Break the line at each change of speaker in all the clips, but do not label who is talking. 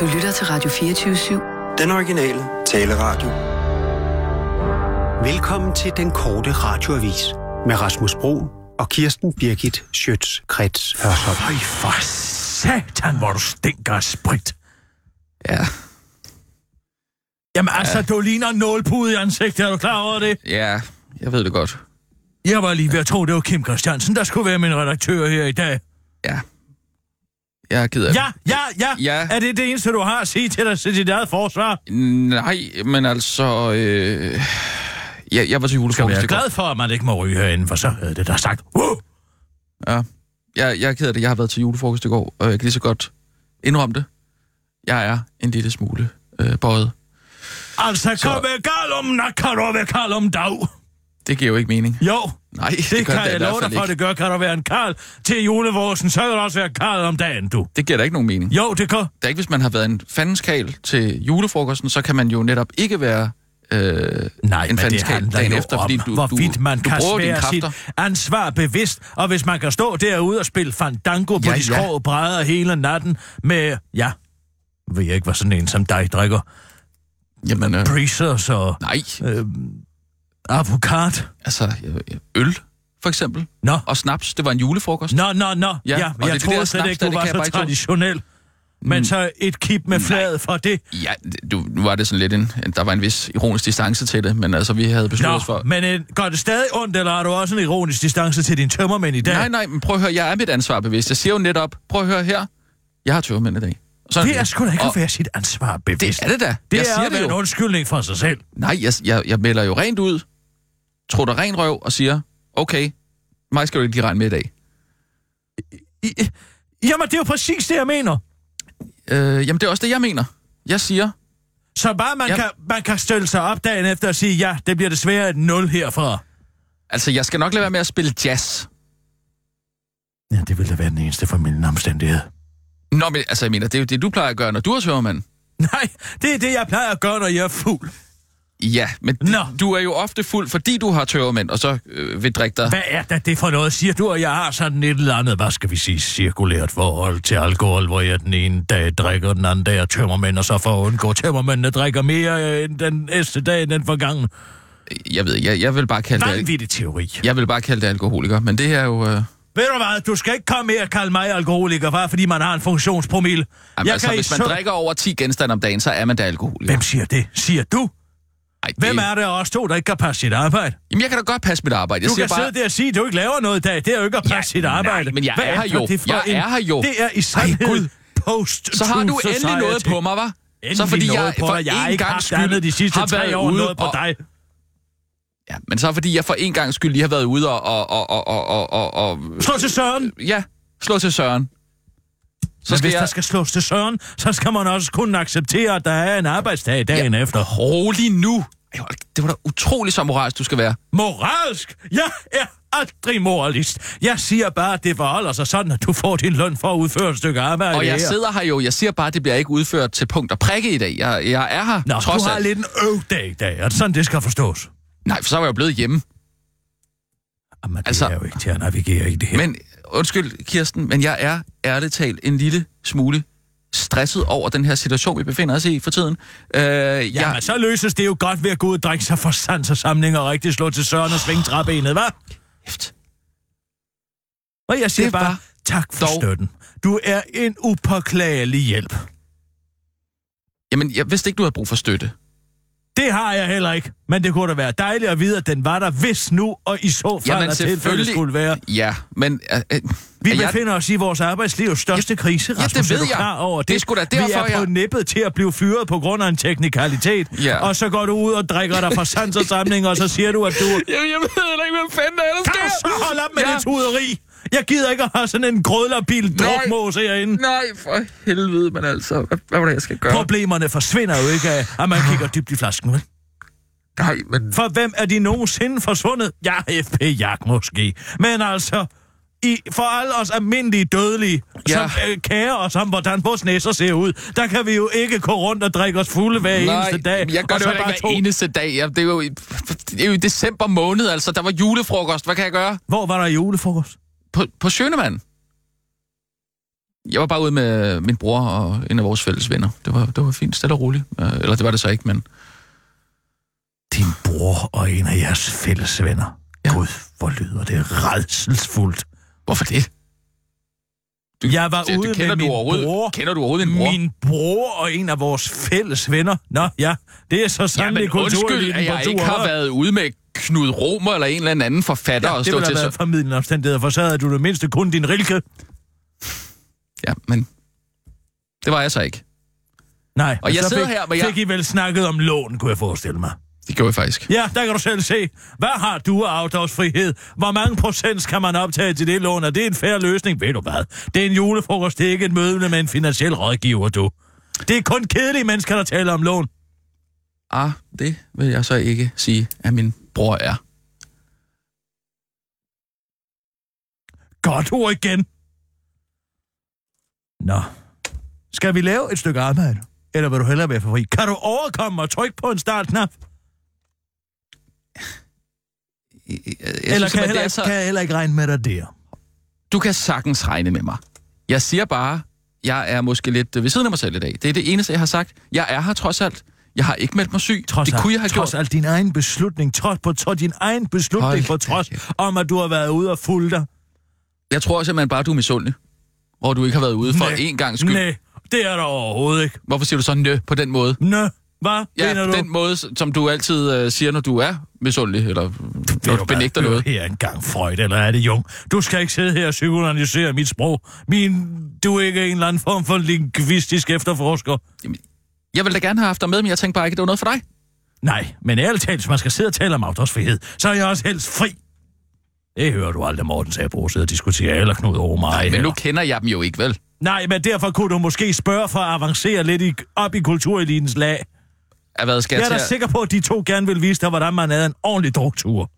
Du lytter til Radio 24
Den originale taleradio.
Velkommen til den korte radioavis med Rasmus Bro og Kirsten Birgit Schøtz-Krets Hørsholm.
Øj, for satan, hvor du stinker af sprit.
Ja.
Jamen altså, ja. du ligner en nålpude i ansigtet, er du klar over det?
Ja, jeg ved det godt.
Jeg var lige ved at tro, det var Kim Christiansen, der skulle være min redaktør her i dag.
Ja. Jeg er ked af det.
Ja, ja, ja.
Ja.
Er det det eneste, du har at sige til dig til dit eget forsvar?
Nej, men altså... Øh... Jeg, jeg var til
Du skal
julefrokost.
være
i går.
glad for, at man ikke må ryge herinde, for så havde det der sagt. Uh!
Ja. Jeg, jeg er ked af det. Jeg har været til julefrokost i går, og jeg kan lige så godt indrømme det. Jeg er en lille smule øh, bøjet.
Altså,
Så-
kom ved kalum, na kan ved kalum dag.
Det giver jo ikke mening.
Jo,
Nej,
det, det
gør
kan
det i
jeg
hvert
love
fald
dig for,
ikke.
det gør. Kan der være en karl til julevorsen, så kan der også være karl om dagen, du.
Det giver da ikke nogen mening.
Jo, det kan.
Det er ikke, hvis man har været en fandenskal til julefrokosten, så kan man jo netop ikke være øh,
Nej,
en
men det
fandenskal
handler
dagen
jo
efter,
om,
fordi du,
hvorvidt
du,
man
du
kan
bruger dine
svære sit
kræfter.
ansvar bevidst, og hvis man kan stå derude og spille fandango på
Ja,
ja, de
ja.
skrå brædder hele natten med, ja, ved jeg ikke, hvad sådan en som dig drikker,
Jamen, øh,
breezers og
nej.
øh, avocat.
Altså, øh, øl, for eksempel.
Nå,
Og snaps, det var en julefrokost.
nå, nå, nå, ja,
og
ja
det er
jeg
det der
troede slet
snaps
ikke,
der,
du
det
var
kan jeg bare
så
ikke tåle.
traditionel. Men så et kip med fladet for det.
Ja, det- du, nu var det sådan lidt en... en- Der var en vis ironisk distance til det, men altså, vi havde besluttet os
Nå,
for...
men øh, gør det stadig ondt, eller har du også en ironisk distance til din tømmermænd i dag?
Nej, nej, men prøv at høre, jeg er mit ansvar bevidst. Jeg siger jo netop, prøv at høre her, jeg har tøvmænd i dag. Sådan
Det er sgu da ikke
Og
at være sit ansvar bevidst.
Det er det da.
Det
jeg
er
siger
at være
det
en
jo.
undskyldning for sig selv.
Nej, jeg, jeg, jeg melder jo rent ud, trutter ren røv og siger, okay, mig skal du ikke lige regne med i dag.
I, jamen, det er jo præcis det, jeg mener.
Øh, jamen, det er også det, jeg mener. Jeg siger,
Så bare man,
Ja.
kan, man kan stille sig op dagen efter og sige, ja, det bliver desværre et nul herfra.
altså, jeg skal nok lade være med at spille jazz.
Ja, det ville da være den eneste formidlende omstændighed.
Nå, men altså, jeg mener, det er jo det, du plejer at gøre, når du er tøvmand.
Nej, det er det, jeg plejer at gøre, når jeg er fuld.
Ja, men d-
Nå.
du er jo ofte fuld, fordi du har tøvermænd, og så øh, vil drikke dig.
Hvad er da det for noget, siger du, og jeg har sådan et eller andet, hvad skal vi sige, cirkulært forhold til alkohol, hvor jeg den ene dag drikker, den anden dag er tømmermænd, og så for at undgå tømmermændene drikker mere øh, end den næste dag end den forgangne.
Jeg ved, jeg, jeg vil bare kalde det...
Vanvittig teori.
Jeg vil bare kalde det alkoholiker, men det er jo... Øh,
Ved du hvad, du skal ikke komme her og kalde mig alkoholiker, bare fordi man har en funktionspromille.
jamen, altså,
i
hvis man
søvn-
drikker over 10 genstande om dagen, så er man da alkoholiker.
Hvem siger det? Siger du?
Ej, det,
Hvem er det af os to, der ikke kan passe sit arbejde?
Jamen, jeg kan da godt passe mit arbejde. Jeg
Du
siger
kan
bare...
bare... sidde der og sige, at du ikke laver noget i dag. Det er jo ikke at passe
Ja,
sit
nej,
arbejde.
men jeg
Hvad
er her jo.
det for
Jeg
en-
er her jo.
Det er i
Gud.
sandhed post
så har du endelig noget på mig, hva'? så fordi
noget
jeg
på
for
dig. Jeg har
én
ikke
gang
haft
skyld
andet de sidste
har været
tre år
ude
noget på
og,
dig.
Ja, men så fordi jeg for en gang skyld lige har været ude og... og, og, og, og, og, og, og
Slå til Søren.
ja, slå til Søren. Så
Så
skal
hvis der
jeg...
skal slås til Søren, så skal man også kunne acceptere, at der er en arbejdsdag dagen efter.
Rolig nu! Ej, hold da- Det var da utrolig så moralsk, du skal være.
Moralsk? Jeg er aldrig moralist. Jeg siger bare, at det forholder sig sådan, at du får din løn for at udføre et stykke arbejde
Og jeg
her.
sidder her jo, jeg siger bare, at det bliver ikke udført til punkt og prikke i dag. Jeg, jeg er her,
Nå,
trods
du har
alt.
lidt en øvdag i dag, og sådan det skal forstås.
Nej, for så var jeg jo blevet hjemme.
Jamen, det
Altså-
altså... er jo ikke til at navigere i det her. Men...
Men undskyld, Kirsten, men jeg er ærligt talt en lille smule stresset over den her situation, vi befinder os i for tiden. Øh, jeg,
Jamen, altså- så løses det jo godt ved at gå ud og drikke sig for sans og samling og rigtig slå til Søren og svinge træbenet, hva'?
Kæft.
Og jeg siger
Det var
bare, tak for
dog-
støtten. Du er en upåklagelig hjælp.
Jamen, jeg vidste ikke, du havde brug for støtte.
Det har jeg heller ikke, men det kunne da være dejligt at vide, at den var der, hvis nu og i så fald,
Jamen,
at tilfældet
selvfølgelig.
skulle være.
Ja, men... Øh, øh,
Vi
er jeg-
befinder os i vores arbejdslivs største krise,
ja,
Rasmus.
det ved
er du
jeg.
klar over det?
Det er sgu da
Vi
derfor,
er på
jeg-
nippet til at blive fyret på grund af en teknikalitet.
Ja.
Og så går du ud og drikker dig fra sans og samling, og så siger du, at du...
Jamen, jeg ved heller ikke, hvad fanden der er, der
Kan du så holde op med ja. det tuderi? Jeg gider ikke at have sådan en grødlerbil
Nej.
drukmåse herinde.
Nej, for helvede, men altså... Hvad, hvad var det, jeg skal gøre?
Problemerne forsvinder jo ikke af, at man kigger dybt i flasken, vel?
Nej, men...
For hvem er de nogensinde forsvundet? Ja, FP Jak måske. Men altså, i, for alle os almindelige dødelige,
Ja.
ja. som øh, kærer os om, hvordan vores næser ser ud, der kan vi jo ikke gå rundt og drikke os fulde hver
Nej,
eneste dag.
jeg gør
og
det
så
jo ikke
bare
hver
to-
eneste dag. Jeg, det, er jo, i- det er jo i december måned, altså. Der var julefrokost. Hvad kan jeg gøre?
Hvor var der julefrokost?
På, på Sjønemann. Jeg var bare ude med min bror og en af vores fælles venner. Det var, det var fint, stille og roligt. Øh, Eller det var det så ikke, men
Din bror og en af jeres fælles venner. Ja.
Ja.
Gud, hvor lyder det redselsfuldt.
hvorfor det? Du,
Jeg var
det,
ude
det kender
med
du
min
overhovedet,
bror.
Kender du overhovedet min bror?
Min bror og en af vores fælles venner. Nå, ja, det er så sandelig
Jamen, undskyld, at jeg ikke har været ude med Knud Romer eller en eller anden forfatter
Ja,
og
det
stå
ville
til
have
så...
været formidlende omstændigheder, for så havde du det mindste kun din rilke.
Ja, men det var jeg så ikke.
Nej,
Og jeg
så
sidder
fik,
her, hvor jeg-
fik I vel snakket om lån, kunne jeg forestille mig.
Det gjorde jeg faktisk.
Ja, der kan du selv se. Hvad har du af afdragsfrihed? Hvor mange procent skal man optage til det lån? Er det en færre løsning? Ved du hvad? Det er en julefrokost, det er ikke et møde med en finansiel rådgiver, du. Det er kun kedelige mennesker, der taler om lån.
Ah, det vil jeg så ikke sige, at min bror er.
Godt ord igen. Nå. Skal vi lave et stykke arbejde? Eller vil du hellere være for fri? Kan du overkomme og trykke på en startknap?
Jeg, jeg
Eller
simpelthen,
kan, jeg
det
heller,
er
ikke, kan jeg heller ikke regne med dig der?
Du kan sagtens regne med mig. Jeg siger bare, jeg er måske lidt øh, ved siden af mig selv i dag. Det er det eneste, jeg har sagt. Jeg er her trods alt. Jeg har ikke meldt mig syg.
Trods
det
alt,
kunne jeg have
trods
gjort.
alt din egen beslutning, trods på trods din egen beslutning
Hold
på
da
trods
kæft.
om, at du har været ude og fulgt dig.
Jeg tror simpelthen bare, du er misundelig. Og du ikke har været ude for
Næ.
én gang skyld.
Nej, det er der overhovedet ikke.
Hvorfor siger du så nø på den måde?
Nø, hvad
Ja,
mener
på
du?
den måde, som du altid øh, siger, når du er misundelig, eller øh, når
Ved
du
hvad,
benægter
hør
noget.
her engang, Freud, eller er det Jung? Du skal ikke sidde her og psykoanalysere mit sprog. Min, du er ikke en eller anden form for lingvistisk efterforsker.
Jeg ville da gerne have haft dig med, men jeg tænkte bare ikke, at det var noget for dig.
Nej, men ærligt talt, hvis man skal sidde og tale om afdragsfrihed, så er jeg også helst fri. Det hører du aldrig, Morten Sabro, sidde og diskutere eller Knud over mig.
Men nu kender jeg dem jo ikke, vel?
Nej, men derfor kunne du måske spørge for at avancere lidt i, op i kulturelitens lag.
At hvad skal
Jeg er
jeg
da
til at-
sikker på, at de to gerne vil vise dig, hvordan man havde en ordentlig druktur.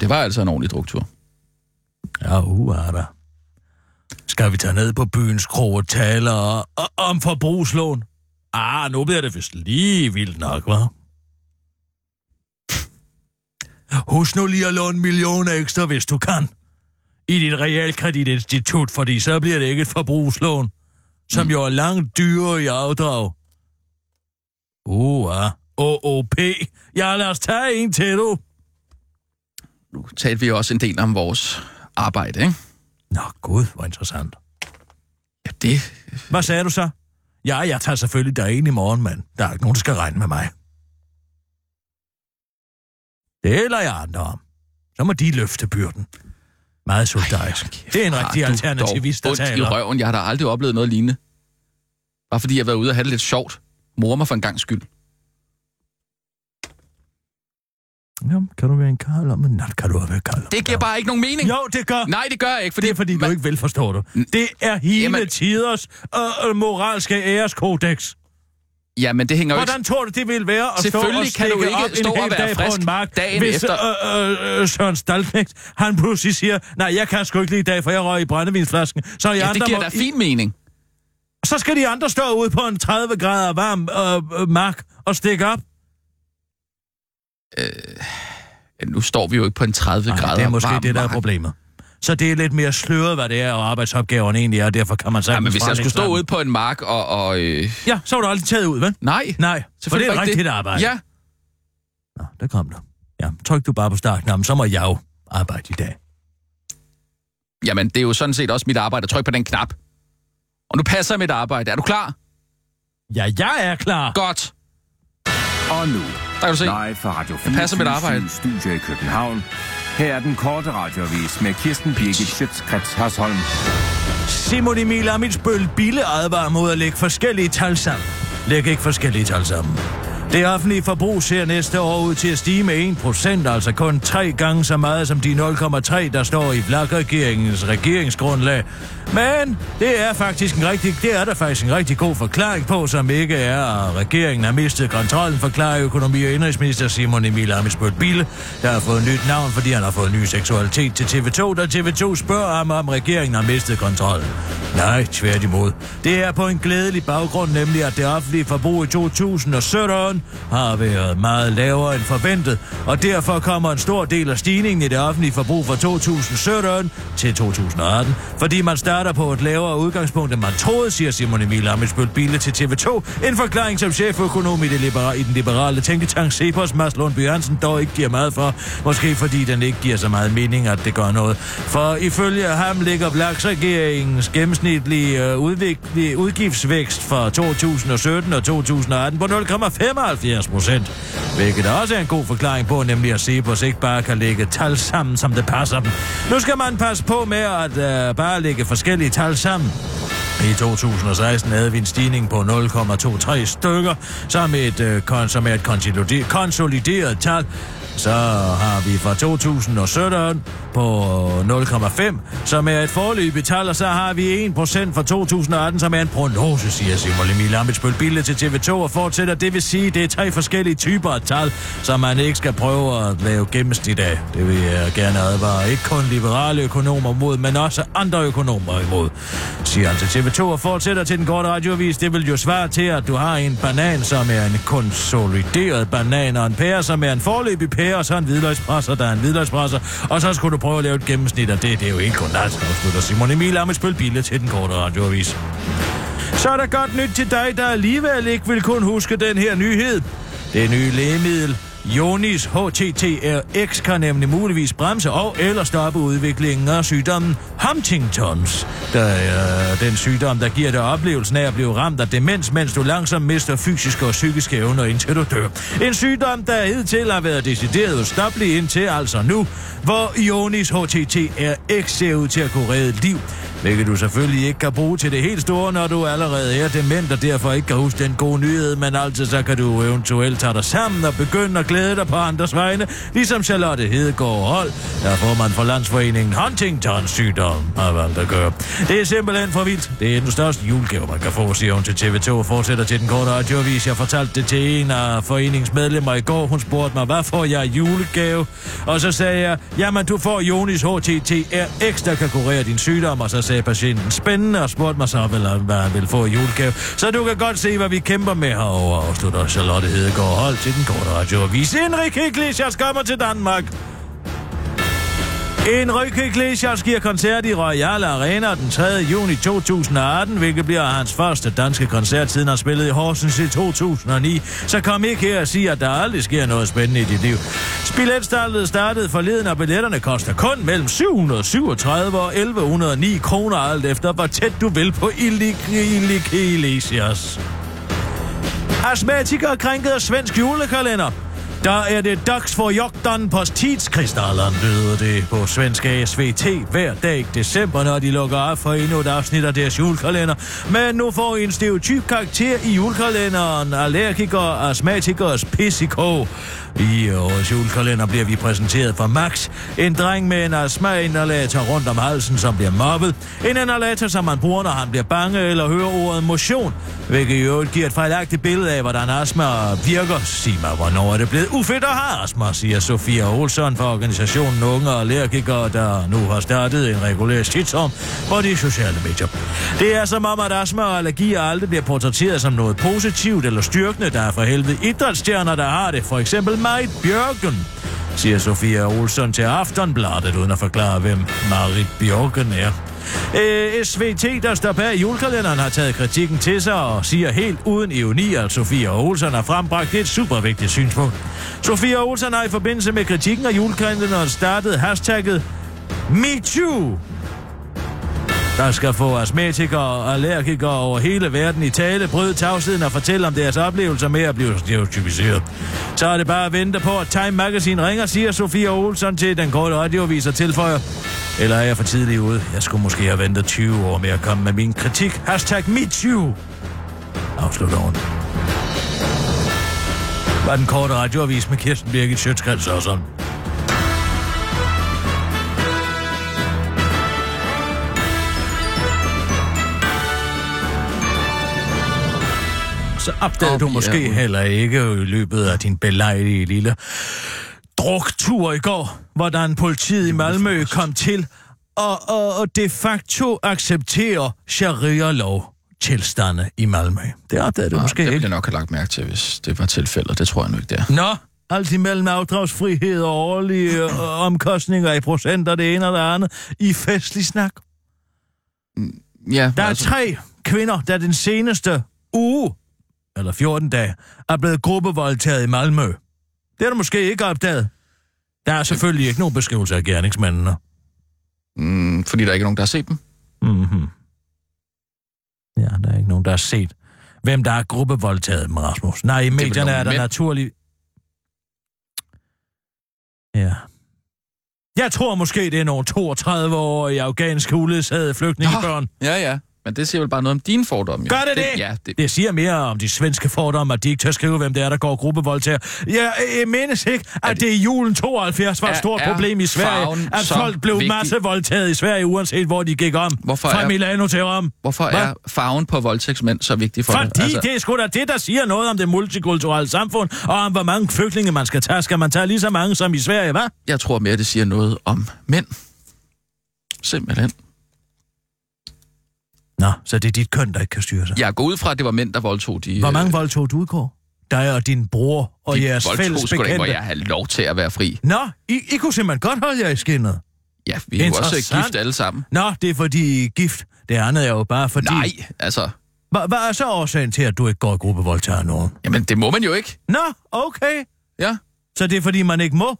Det var altså en ordentlig druktur.
Ja, uha da. Skal vi tage ned på byens krog og tale og, og, om forbrugslån? Ah, nu bliver det vist lige vildt nok, hva'? Husk nu lige at låne millioner ekstra, hvis du kan. I dit realkreditinstitut, fordi så bliver det ikke et forbrugslån, som jo er langt dyrere i afdrag. Uha. OOP. Ja, lad os tage en til, du.
Nu talte vi jo også en del om vores arbejde, ikke?
Nå, gud, hvor interessant.
Ja, det...
Hvad sagde du så? Ja, jeg tager selvfølgelig dig ind i morgen, mand. Der er ikke nogen, der skal regne med mig. Det eller jeg andre om. Så må de løfte byrden. Meget solidarisk. Det er en rigtig
Har du
alternativist,
dog
der
ondt i
taler.
røven. Jeg har da aldrig oplevet noget lignende. Bare fordi jeg har været ude og have det lidt sjovt. Mor mig for en gang skyld.
Jamen, kan du være en karl om en nat? Kan du også være karl om en
Det giver
nat?
bare ikke nogen mening.
Jo, det gør.
Nej, det gør jeg ikke, fordi...
Det er fordi, du
man-
ikke vil forstå det. Det er hele
Jamen-
tiders øh, øh, moralske æreskodex.
Jamen, det hænger jo ikke...
Hvordan tror du, det ville være at stå og
Selvfølgelig kan du
stikke
ikke
op
stå
en hel
og være
dag på
frisk
en mark,
dagen
hvis
efter?
Øh, øh, øh, Søren Stalknægt, han pludselig siger, nej, jeg kan sgu ikke lige i dag, for jeg røg i brændevinsflasken. Så, jeg
Ja, det
andre
giver
må,
da fin mening.
så skal de andre stå ude på en 30 grader varm øh, øh, mark og stikke op.
Ja, Nu står vi jo ikke på en 30
Nej,
grader
det er måske
varm
det, der er
mark.
problemet. Så det er lidt mere sløret, hvad det er, og arbejdsopgaverne egentlig er, og derfor kan man
Ja,
sagtens
men hvis jeg skulle stå
fremlægge
ude på en mark og... og øh,
den. Ja, så var du aldrig taget ud, vel?
nej,
Nej, for det er et
ikke
rigtigt arbejde.
Ja,
Nå, der kom du. Ja, tryk du bare på startknappen, så må jeg jo arbejde i dag.
jamen det er jo sådan set også mit arbejde at trykke på den knap. Og nu passer mit arbejde. Er du klar?
Ja, jeg er klar.
Godt.
Og nu,
Der kan du se.
live fra Radio 4.
passer mit arbejde.
Studio i København. Her er den korte radiovis med Kirsten Birgit Schøtzgrads Hasholm.
Simon Emil Amitsbøl Bille advarer mod at lægge forskellige tal sammen. Læg ikke forskellige tal sammen. Det offentlige forbrug ser næste år ud til at stige med 1%, altså kun tre gange så meget som de 0,3, der står i Vlak-regeringens regeringsgrundlag. Men det er faktisk en rigtig, det er der faktisk en rigtig god forklaring på, som ikke er, at regeringen har mistet kontrollen, forklarer økonomi- og indrigsminister Simon Emil Amitsbøl Bille, der har fået nyt navn, fordi han har fået ny seksualitet til TV2, da TV2 spørger ham, om regeringen har mistet kontrollen. Nej, tværtimod. Det er på en glædelig baggrund, nemlig at det offentlige forbrug i 2017 har været meget lavere end forventet, og derfor kommer en stor del af stigningen i det offentlige forbrug fra 2017 til 2018, fordi man starter på et lavere udgangspunkt, end man troede, siger Simon Emil Amitsbøl Bille til TV2. En forklaring, som cheføkonom i, det libera- i den liberale tænketank Cepos, Mads Lund Bjørnsen, dog ikke giver meget for. Måske fordi den ikke giver så meget mening, at det gør noget. For ifølge ham ligger Blaksregeringens gennemsnitlige øh, udvikli- udgiftsvækst fra 2017 og 2018 på 0,75 procent. Hvilket også er en god forklaring på, nemlig at Cepos ikke bare kan lægge tal sammen, som det passer dem. Nu skal man passe på med at øh, bare lægge forskellige tal sammen. I 2016 havde vi en stigning på 0,23 stykker, som, et, øh, kon, som er et konsolideret, konsolideret tal. Så har vi fra 2017 på 0,5, som er et forløbigt tal, og så har vi 1% fra 2018, som er en prognose, siger Simon Emil Amitsbøl Bille til TV2 og fortsætter. Det vil sige, det er tre forskellige typer af tal, som man ikke skal prøve at lave gennemsnit af. Det vil jeg gerne advare ikke kun liberale økonomer mod, men også andre økonomer imod, siger han til TV2 og fortsætter til den korte radioavis. Det vil jo svare til, at du har en banan, som er en konsolideret banan, og en pære, som er en forløbig pære, og så en hvidløgspresser, der er en hvidløgspresser, og så skulle du prøve at lave et gennemsnit af det. Det er jo ikke kun nat, afslutter Simon Emil Amitsbøl Bille til den korte radioavis. Så er der godt nyt til dig, der alligevel ikke vil kunne huske den her nyhed. Det nye lægemiddel Jonis HTTRX kan nemlig muligvis bremse og eller stoppe udviklingen af sygdommen Huntingtons, der er øh, den sygdom, der giver dig oplevelsen af at blive ramt af demens, mens du langsomt mister fysiske og psykiske evner, indtil du dør. En sygdom, der hidtil har været decideret ustoppelig indtil altså nu, hvor Jonis HTTRX ser ud til at kunne redde et liv. Hvilket du selvfølgelig ikke kan bruge til det helt store, når du allerede er dement og derfor ikke kan huske den gode nyhed, men altså så kan du eventuelt tage dig sammen og begynde at glæde dig på andres vegne, ligesom Charlotte Hedegaard Hold, der får man for landsforeningen Huntingtons sygdom, har valgt at gøre. Det er simpelthen for vildt. Det er den største julegave, man kan få, siger hun til TV2 og fortsætter til den korte radioavis. Jeg fortalte det til en af foreningens medlemmer i går. Hun spurgte mig, hvad får jeg i julegave? Og så sagde jeg, jamen du får Jonis HTTRX, der kan kurere din sygdom, og så sagde patienten spændende og spurgte mig så, vel, om, hvad han ville få i julegave. Så du kan godt se, hvad vi kæmper med herovre, afslutter Charlotte Hedegaard Hold til den korte radioavis. Henrik Iglesias kommer til Danmark. Enrique Iglesias giver koncert i Royal Arena den 3. juni 2018, hvilket bliver hans første danske koncert, siden han spillede i Horsens i 2009. Så kom ikke her og sig, at der aldrig sker noget spændende i dit liv. Billetstallet startede forleden, og billetterne koster kun mellem 737 og 1109 kroner, alt efter hvor tæt du vil på Enrique Iglesias. Astmatikere krænket af svensk julekalender. Der er det dags for jogtan på tidskristallen, lyder det på svensk SVT hver dag i december, når de lukker af for endnu et afsnit af deres julekalender. Men nu får en stereotyp karakter i julekalenderen allergikere, astmatikers pissikå. I årets julekalender bliver vi præsenteret for Max, en dreng med en astma-inhalator rundt om halsen, som bliver mobbet. En inhalator, som man bruger, når han bliver bange eller hører ordet motion, hvilket i øvrigt giver et fejlagtigt billede af, hvordan astma virker. Sig mig, hvornår er det blevet ufedt at have astma, siger Sofia Olsson fra organisationen Unge Allergikere, der nu har startet en regulær shitstorm på de sociale medier. Det er som om, at astma og allergier aldrig bliver portrætteret som noget positivt eller styrkende. Der er for helvede idrætsstjerner, der har det. For eksempel Marit Bjørgen siger Sofia Olsson til Aftonbladet, uden at forklare, hvem Marit Bjørgen er. Øh, SVT, der står bag julekalenderen, har taget kritikken til sig og siger helt uden ironi, at Sofia Olsen har frembragt et super vigtigt synspunkt. Sofia Olsen har i forbindelse med kritikken af julekalenderen startet hashtagget MeToo der skal få astmatikere og allergikere over hele verden i tale, bryde tavsheden og fortælle om deres oplevelser med at blive stereotypiseret. Så er det bare at vente på, at Time Magazine ringer, siger Sofia Olsson til den korte radioavis og tilføjer. Eller er jeg for tidlig ude? Jeg skulle måske have ventet 20 år med at komme med min kritik. Hashtag MeToo! Afslutter hun. Var den korte radioavis med Kirsten Birgit Sjøtskrets og sådan. så opdagede
Og
du
vi er
måske
ude.
heller ikke i løbet af din belejlige lille druktur i går, hvordan politiet i Malmø kom til og, og, og de facto accepterer sharia-lov tilstande i Malmø. Det opdagede du måske
Ah, det ville
ikke.
jeg nok have lagt mærke til, hvis det var tilfældet. Det tror jeg nu ikke, det er.
Nå, alt imellem afdragsfrihed og årlige øh, omkostninger i procenter, det ene og det andet, i festlig snak.
Ja,
Der er
altså,
tre kvinder, der den seneste uge, eller 14 dage, er blevet gruppevoldtaget i Malmø. Det er du måske ikke opdaget. Der er selvfølgelig ikke nogen beskrivelse af gerningsmændene.
mm, fordi der ikke er nogen, der har set dem.
Mm-hmm. Ja, der er ikke nogen, der har set, hvem der er gruppevoldtaget med Rasmus. Nej, i
vel
medierne
nogle
er der
mænd.
naturlig... Ja. Jeg tror måske, det er nogle 32-årige afghanske uledsagede flygtningebørn.
Ja, ja. Men det siger vel bare noget om dine fordomme. jo.
Gør det det?
Ja, det,
Det siger mere om de svenske fordomme, at de ikke tør skrive, hvem det er, der går gruppevoldtager. Jeg, jeg menes ikke, at det, det i julen 72 var et
Er-
stort
er
problem i
farven
Sverige, at
så
folk blev
vigtig?
massevoldtaget i Sverige, uanset hvor de gik om.
Hvorfor
Fra
er-
Milano til Rom.
Hvorfor
Hva?
er farven på voldtægtsmænd så vigtig for
Fordi
dig?
altså... det er sgu da det, der siger noget om det multikulturelle samfund, og om hvor mange flygtninge man skal tage. Skal man tage lige så mange som i Sverige, hva'?
Jeg tror mere, det siger noget om mænd. Simpelthen.
Nå, så det er dit køn, der ikke kan styre sig.
Jeg går ud fra, at det var mænd, der voldtog de...
Hvor
øh,
mange voldtog du i går? Dig og din bror og
de
jeres
voldtog,
fælles
sgu da ikke, hvor
bekendte.
jeg have lov til at være fri.
Nå, I, I kunne simpelthen godt holde jer i skinnet.
Ja, vi er jo også
Interessant.
gift alle sammen.
Nå, det er fordi I er gift. Det andet er jo bare fordi...
Nej, altså...
Hva- Hvad er så årsagen til, at du ikke går i gruppevoldtager af nogen?
Jamen, det må man jo ikke.
Nå, okay.
Ja.
Så det er fordi, man ikke må?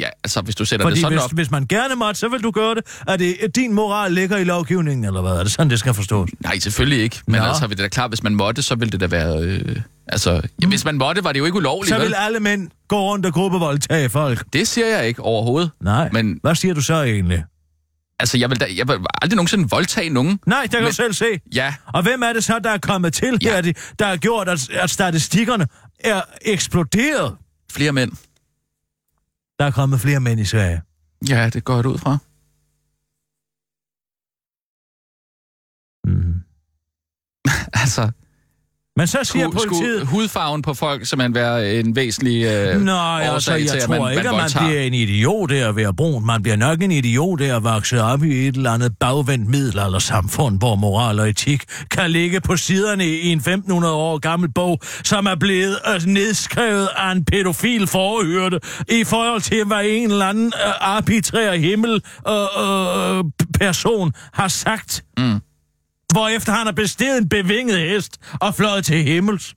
Ja, altså, hvis du sætter
Fordi
det sådan
hvis,
op...
hvis man gerne måtte, så vil du gøre det. Er det din moral ligger i lovgivningen, eller hvad? Er det sådan, det skal forstås?
Nej, selvfølgelig ikke. Men
Nå.
Nå. altså, det er da klart, hvis man måtte, så ville det da være... Øh, altså, ja, hvis man måtte, var det jo ikke ulovligt,
Så
vel?
vil alle mænd gå rundt og gruppevoldtage folk.
Det siger jeg ikke overhovedet.
Nej.
Men-
Hvad siger du så egentlig?
Altså, jeg vil, da, jeg vil aldrig nogensinde voldtage nogen.
Nej, det kan Men... du
Men-
selv se.
Ja,
Og hvem er det så, der er kommet til ja.
Ja.
her, de- der har gjort, at, at statistikkerne er eksploderet?
flere mænd.
Der er kommet flere mænd i Sverige.
Ja, det går jeg da ud fra.
Mm.
Altså,
Men så siger
skulle,
politiet...
skulle hudfarven på folk simpelthen være en væsentlig... Øh,
Nej, altså,
årsag
jeg
til, at
tror
man- man
ikke, at man
voldtager.
bliver en idiot af at være brun. Man bliver nok en idiot af at vokse op i et eller andet bagvendt middelaldersamfund, hvor moral og etik kan ligge på siderne i en 1500 år gammel bog, som er blevet øh, nedskrevet af en pædofil forhørte i forhold til, hvad en eller anden øh, arbitrær himmel øh, øh, person har sagt. Mm. Hvorefter han har bestiget en bevinget hest og fløjet til himmels.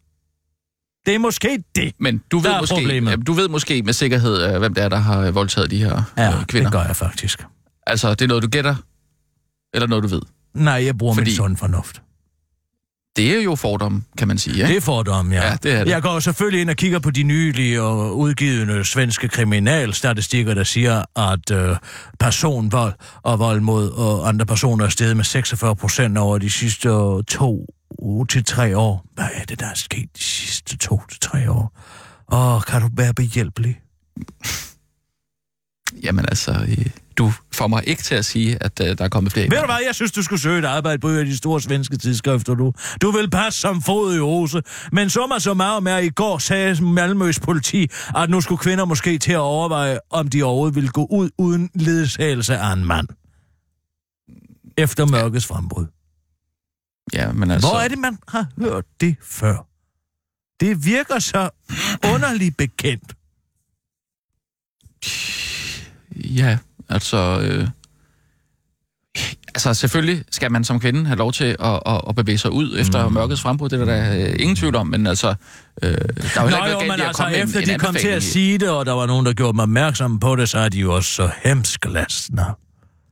Det er måske det.
men du
Der
ved,
er
måske,
problemet.
jamen, du ved måske med sikkerhed, øh, hvem det er, der har øh, voldtaget de her
Ja,
ja, øh, kvinder.
det gør jeg faktisk.
Altså, det er noget, du gætter? Eller noget, du ved?
Nej, jeg bruger Fordi... min
Fordi-
sund fornuft.
Det er jo fordomme, kan man sige, ikke?
Det er fordomme, ja.
Ja, det er det.
Jeg går selvfølgelig ind og kigger på de nylige og udgivende svenske kriminalstatistikker, der siger, at øh, personvold og vold mod øh, andre personer er steget med 46 procent over de sidste øh, to uge til tre år. Hvad er det, der er sket de sidste to til tre år? Åh, kan du være behjælpelig?
Jamen altså, øh, du får mig ikke til at sige, at øh, der er kommet flere
Ved du hvad, jeg synes, du skulle søge et arbejde på en af de store svenske tidsskrifter, du. Du vil passe som fod i hose. Men summa summarum er, at i går sagde Malmøs politi, at nu skulle kvinder måske til at overveje, om de overhovedet ville gå ud uden ledsagelse af en mand. Efter mørkets frembrud.
Ja, men altså...
Hvor er det, man har hørt det før? Det virker så underligt bekendt.
Ja, altså... Øh, altså, selvfølgelig skal man som kvinde have lov til at, at, at bevæge sig ud efter mm. mørkets frembrud. Det er der da, øh, ingen tvivl om, men altså... Øh, der er jo heller ikke
Nå
noget
jo,
galt i
men
at
altså,
komme med en-
efter
en
de kom til
anbefaling
at
i-
sige det, og der var nogen, der gjorde mig opmærksom på det, så er de jo også så hemsklastner.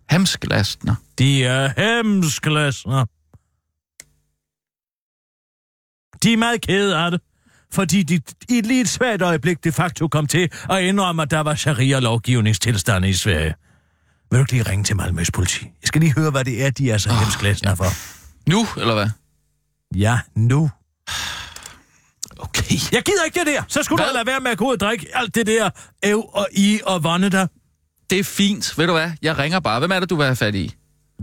Hamsklastner.
De er hemsklasser. De er meget kede af det, fordi de i lige et svært øjeblik de facto kom til at indrømme, at der var sharia-lovgivningstilstande i Sverige. Vil du ikke lige ringe til Malmøs politi? Jeg skal lige høre, hvad det er, de er
Ah.
så oh, hemsklæsner for.
Nu, eller hvad?
Ja, nu.
Okay.
Jeg gider ikke det der. Så skulle du
Hvad?
lade være med at gå ud og drikke alt det der æv og i og vonde der.
Det er fint. Ved du hvad? Jeg ringer bare. Hvem er det, du vil have fat i?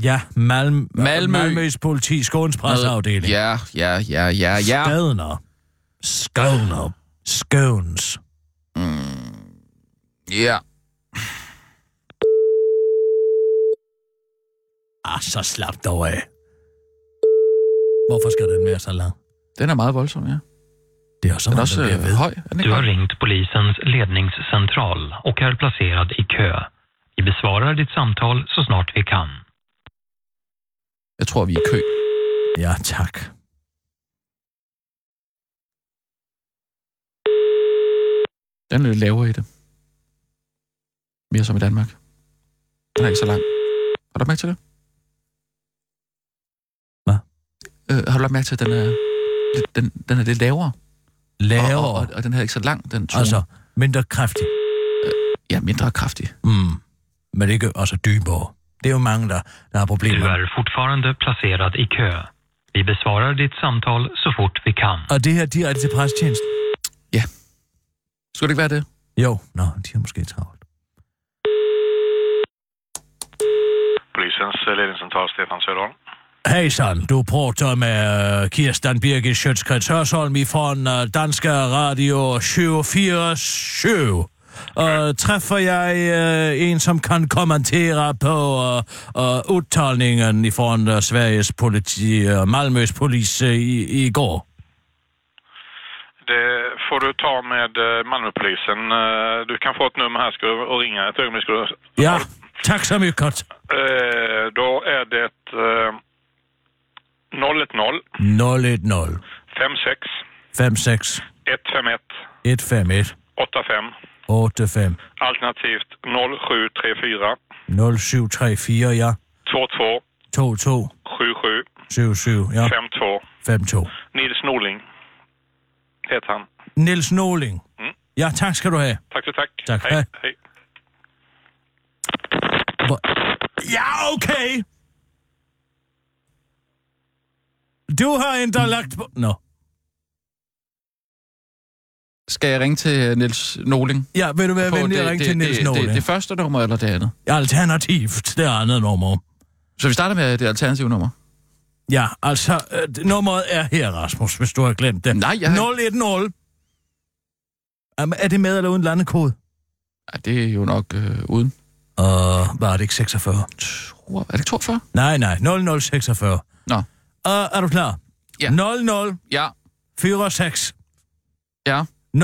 Ja, Malm-
Malmø.
Malmøs politi, Skåns presseafdeling.
Ja, ja, ja, ja, ja.
Skåner. Skåner. Skåns.
Ja.
Ah, så slap dog af. Hvorfor skal den være så lang?
Den er meget voldsom, ja.
Det er så
Den er
meget,
også
den bliver
øh,
ved.
høj. Er den
Du
ikke
har
høj?
ringt polisens ledningscentral och är placerad i kö. Vi besvarar ditt samtal så snart vi kan.
Jeg tror, vi er i kø.
Ja, tak.
Den er lidt lavere i det. Mere som i Danmark. Den er ikke så lang. Har du lagt mærke til det?
Hvad?
Øh, har du lagt mærke til, at den er lidt, den, den er lidt lavere?
Lavere.
Og, og, og den her ikke så lang, den tone.
altså, mindre kraftig.
Ja, mindre kraftig.
Mm. Men ikke også dybere. Det er jo mange, der, der har
Du
problemer.
är fortfarande placerad i kö. Vi besvarar ditt samtal så fort vi kan.
Og det her direkte til presstjenesten?
Skulle det ikke være det?
Jo, nå, de har måske travlt.
Polisens eh, ledningscentral, Stefan Söderholm.
Hejsan, du pratar med øh, Kirsten Birgit Sjøtskrets Hørsholm ifrån øh, Danske Radio 247. Uh, træffer jeg uh, en, som kan kommentere på uh, uh, udtalningen ifrån uh, Sveriges politi, uh, Malmøs polis uh, i, i går?
Det får du ta med eh, Malmöpolisen. Eh, Du kan få ett nummer här ska du, och ringa ett ögonblick. Ska du,
Ja, tak så mycket.
Eh, Då är det eh, 010
010
56
56
151
151
85
85
alternativt 0734
0734, ja.
22
22
77
77, ja.
52.
52.
Nils Norling heter han.
Niels Nåling.
Mm.
Ja, tak skal du have.
Tack så tack.
Tack. Hej.
Hej. Hej.
Hvor... Ja, okay. Du har endda lagt på... Nå.
Skal jeg ringe til Nils Noling?
Ja, vil du være
På
venlig at ringe til Niels
det,
Nåling?
Det, det første nummer eller det andet?
Alternativt, det andet nummer.
Så vi starter med det alternative nummer.
Ja, altså, øh, nummeret er her, Rasmus, hvis du har glemt det.
Nej, jeg har-
010. Jamen, er det med eller uden landekode?
Ej, det er jo nok øh, uden.
Og var det ikke 46?
Tror- Er det 42?
Nej, nej, 0046.
Nå.
Uh, er du klar?
Ja.
00
Ja,
46
ja,
010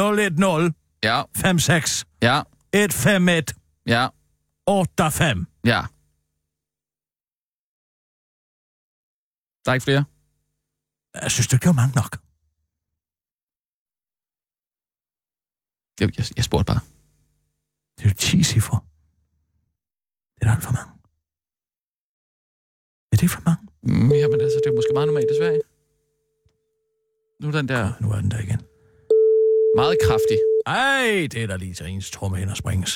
ja,
56
ja,
151
ja,
85.
ja. Der er ikke flere?
Jeg synes, du gjorde mange nok.
Jeg, jeg, jeg spurgte bare.
Det er jo 10 cifre. Det er da alt for mange. Er det for mange?
Mm, ja, men altså, det er måske meget normalt i Sverige. Nu er den der
Nu er den der igen.
meget kraftig.
Ej, det er da lige til ens trommehinder springes.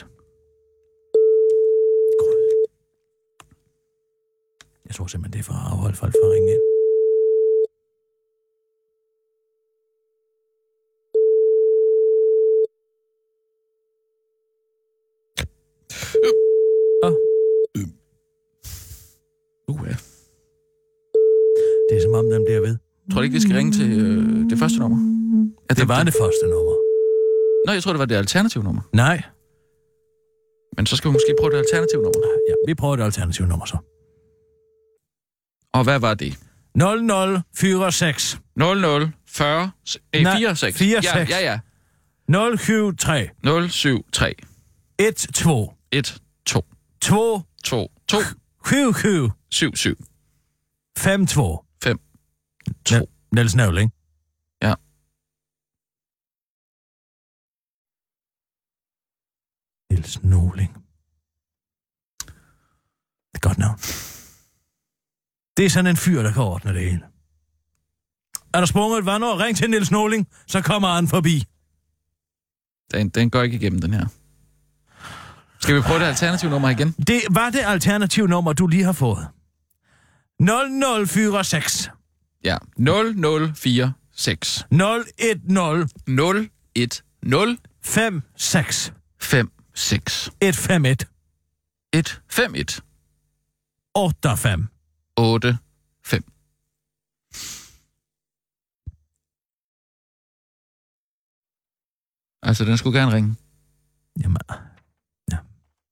Jeg tror simpelthen, det er for at afholde folk fra at ringe ind.
Uh, ja.
Det er som om, den bliver ved.
Tror du ikke, vi skal ringe til øh, det første nummer? At
Det var det første nummer.
Nå, jeg tror, det var det alternative nummer.
Nej.
Men så skal vi måske prøve det alternative nummer.
Ja, vi prøver et alternativt nummer så.
Og hvad var det?
0046
00 40 eh,
Nej,
4 6.
4,
ja,
6.
ja, ja.
073
0 7 3
12
1 2
2
2 2
QQ
7 7
52.
5
N- Niels Nævling.
Ja.
Niels Nåling. Det er et godt navn. Det er sådan en fyr, der kan ordne det hele. Er der sprunget et vandår? Ring til Niels Nåling, så kommer han forbi.
Den, den går ikke igennem, den her. Skal vi prøve det alternative nummer igen?
Det var det alternative nummer, du lige har fået. 0046
Ja. 0 0 4 6
010
0 1 0
56
5 6
151
1 5 1
85.
8 5 Altså, den skulle gerne ringe.
Jamen, ja.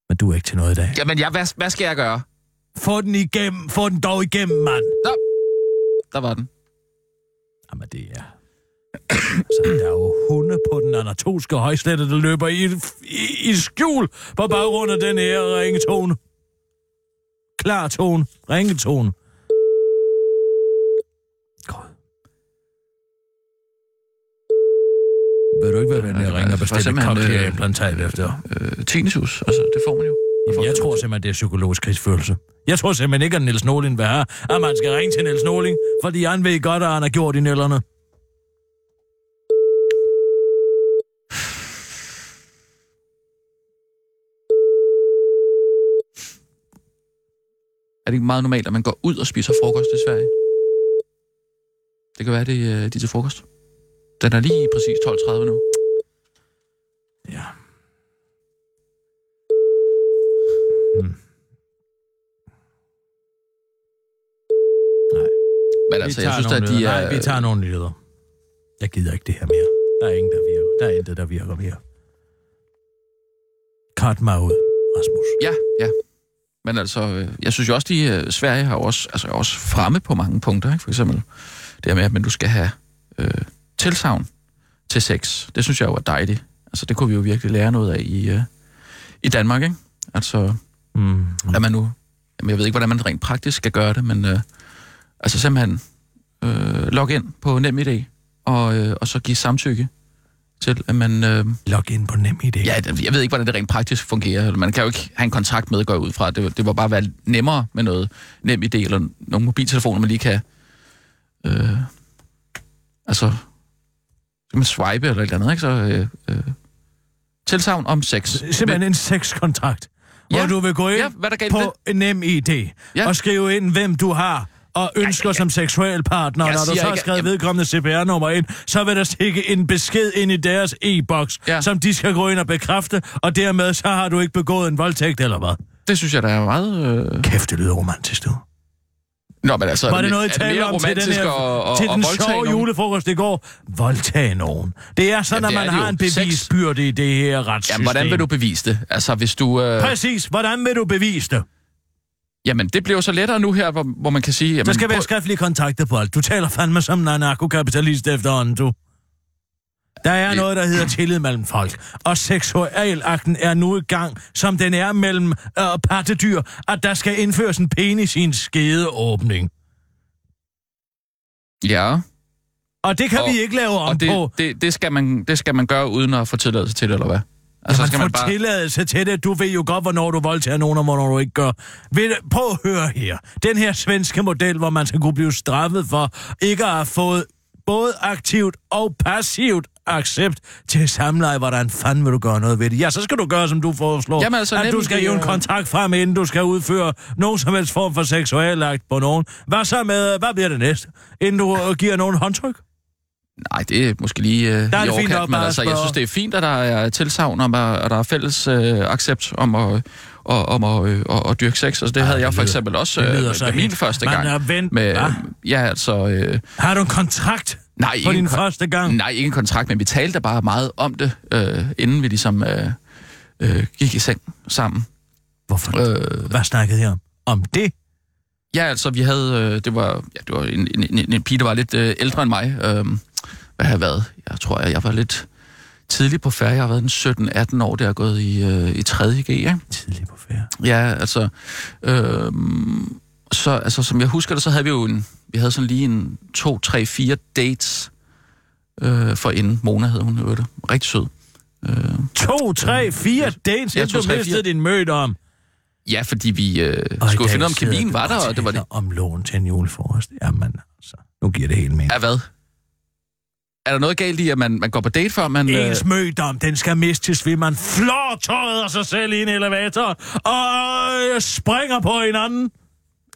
Men du er ikke til noget i dag.
Jamen, ja, hvad, hvad skal jeg gøre?
Få den igennem. Få den dog igennem, mand.
Der var den.
Jamen, det er... altså, der er jo hunde på den anatolske højslette, der løber i, i, i skjul på baggrund af den her ringetone. Klar tone. Ringetone. God. Ved du ikke, hvad den
Ja, det
her
var-
ringer
det var
bestilte
simpelthen, øh,
cochleaimplantat efter?
Øh, tinnitus, altså, det får man jo.
Jamen, jeg tror simpelthen, det er psykologisk krigsførelse. Jeg tror simpelthen ikke, at Niels Norling vil have, at man skal ringe til Niels Norling, fordi han ved godt, at han har gjort i nælderne.
Er det ikke meget normalt, at man går ud og spiser frokost i Sverige? Det kan være, det øh, de er til frokost. Den er lige præcis 12.30 nu.
Ja.
Men altså, jeg synes, at de er...
Nej, vi tager nogle nyheder. Jeg gider ikke det her mere. Der er ingen, der virker. Der er intet, der virker mere. Cut mig ud, Rasmus.
Ja, ja. Men altså, øh, jeg synes jo også, at Sverige har jo også, altså, er også fremme på mange punkter. Ikke? For eksempel det her med, at man, du skal have øh, tilsavn til sex. Det synes jeg jo er dejligt. Altså, det kunne vi jo virkelig lære noget af i, øh, i Danmark, ikke? Altså,
Mm.
at man nu... Jamen, jeg ved ikke, hvordan man rent praktisk skal gøre det, men øh, altså simpelthen øh, log ind på NemID og, øh, og så give samtykke til, at man... Øh,
Log ind på nem idé.
Ja, det- jeg ved ikke, hvordan det rent praktisk fungerer. Man kan jo ikke have en kontakt med, går jeg ud fra. Det, det må bare være nemmere med noget nem idé, eller nogle mobiltelefoner, man lige kan... Øh, altså, så kan man swipe eller et eller andet, ikke? Så, øh, øh, tilsavn om sex.
Simpelthen en sexkontrakt. Ja. Hvor
Ja.
du vil gå ind
Ja, hvad er der galt
på nem idé ja.
Ja.
og skrive ind, hvem du har og ønsker ja, ja, ja. som seksuel partner.
Jeg
Når du
siger
så har
ikke, at-
skrevet
jamen-
vedkommende CPR-nummer ind, så vil der stikke en besked ind i deres e-boks, ja.
Ja.
som de skal gå ind og bekræfte, og dermed så har du ikke begået en voldtægt eller hvad.
Det synes jeg, der er meget... Øh...
Kæft, det lyder romantisk, du.
Nå, men altså...
Var det
er
noget, I
er det
talte
mere
om til den,
romantisk
her,
og, og,
til
og
den
voldtage
sjove
nogen?
julefrokost i går? Voldtage nogen. Det er sådan,
Jamen, det
at man
er det
har
jo.
en
Sex.
bevisbyrde i det her
Ja,
retssystem.
hvordan vil du bevise det? Altså, hvis du... Øh...
Præcis. Hvordan vil du bevise det?
Jamen, det bliver jo så lettere nu her, hvor, hvor man kan sige... Jamen,
Der skal være
prøv-
skriftlige kontakter på alt. Du taler fandme som en anarkokapitalist efterhånden, du. Der er
Det-
noget, der hedder tillid mellem folk. Og seksualakten er nu i gang, som den er mellem øh, pattedyr, at der skal indføres en penis i en skedeåbning.
Ja.
Og det kan
Og-
vi ikke lave om
Og det,
på.
det, det, skal man, det skal man gøre uden at få tilladelse til det, eller hvad?
Altså, man får man bare... tilladelse til det. Du ved jo godt, hvornår du voldtager nogen, og hvornår du ikke gør. Ved, du- prøv at høre her. Den her svenske model, hvor man skal kunne blive straffet for ikke at have fået både aktivt og passivt accept til samleje, hvordan fanden vil du gøre noget ved det? Ja, så skal du gøre, som du foreslår.
Jamen, altså,
at du
nemlig,
skal hive en
øh,
kontrakt frem, inden du skal udføre nogen som helst form for seksuel akt på nogen. Hvad så med, øh, hvad bliver det næste? Inden du øh, giver nogen håndtryk?
Nej, det er måske lige øh,
det
i
fint
overkant,
nok
men
bare at
altså, jeg
spørge.
synes, det er fint, at der er tilsavn, om, at, at der er fælles øh, accept om at, og, om at, øh, og, og dyrke sex. Altså, det havde
det
jeg for
lyder-
eksempel også
det
øh,
lyder
med-
så
med min
helt-
første
man
gang.
har vendt-
med,
hva?
ja, altså... Øh,
Har du en kontrakt
nej,
på
en
din
kon-
første gang?
Nej, ikke en kontrakt, men vi talte bare meget om det, øh, inden vi ligesom øh, øh, gik i seng sammen.
Hvorfor?
Øh,
Hvad snakkede jeg om? Om det?
Ja, altså, vi havde... Øh, det var, ja, det var en, en, en, en pige, der var lidt øh, ældre end mig. Øh, hvad har jeg været? Jeg tror, jeg, jeg var lidt tidlig på færre. Jeg har været en 17-18 år, der er gået i, øh, i 3.G, ikke?
Tidlig på ferie.
Ja, altså... Øh, så, altså, som jeg husker det, så havde vi jo en... Vi havde sådan lige en 2, 3, 4 dates øh, for inden. Mona hed hun, jo det. Rigtig sød. Øh,
To, tre, fire dates,
Ja,
ja,
to,
du
tre, fire.
mistede din møde om.
ja, fordi vi øh, skulle jo finde ud af, om kemien var der, og det var det.
Om lån til en juleforrest. Jamen altså, nu giver det hele mening.
Er hvad? Er der noget galt i, at man, man går på date, før man... øh,
Ens mødom, den skal mistes ved, man flår tøjet af sig selv i en elevator og øh, springer på hinanden.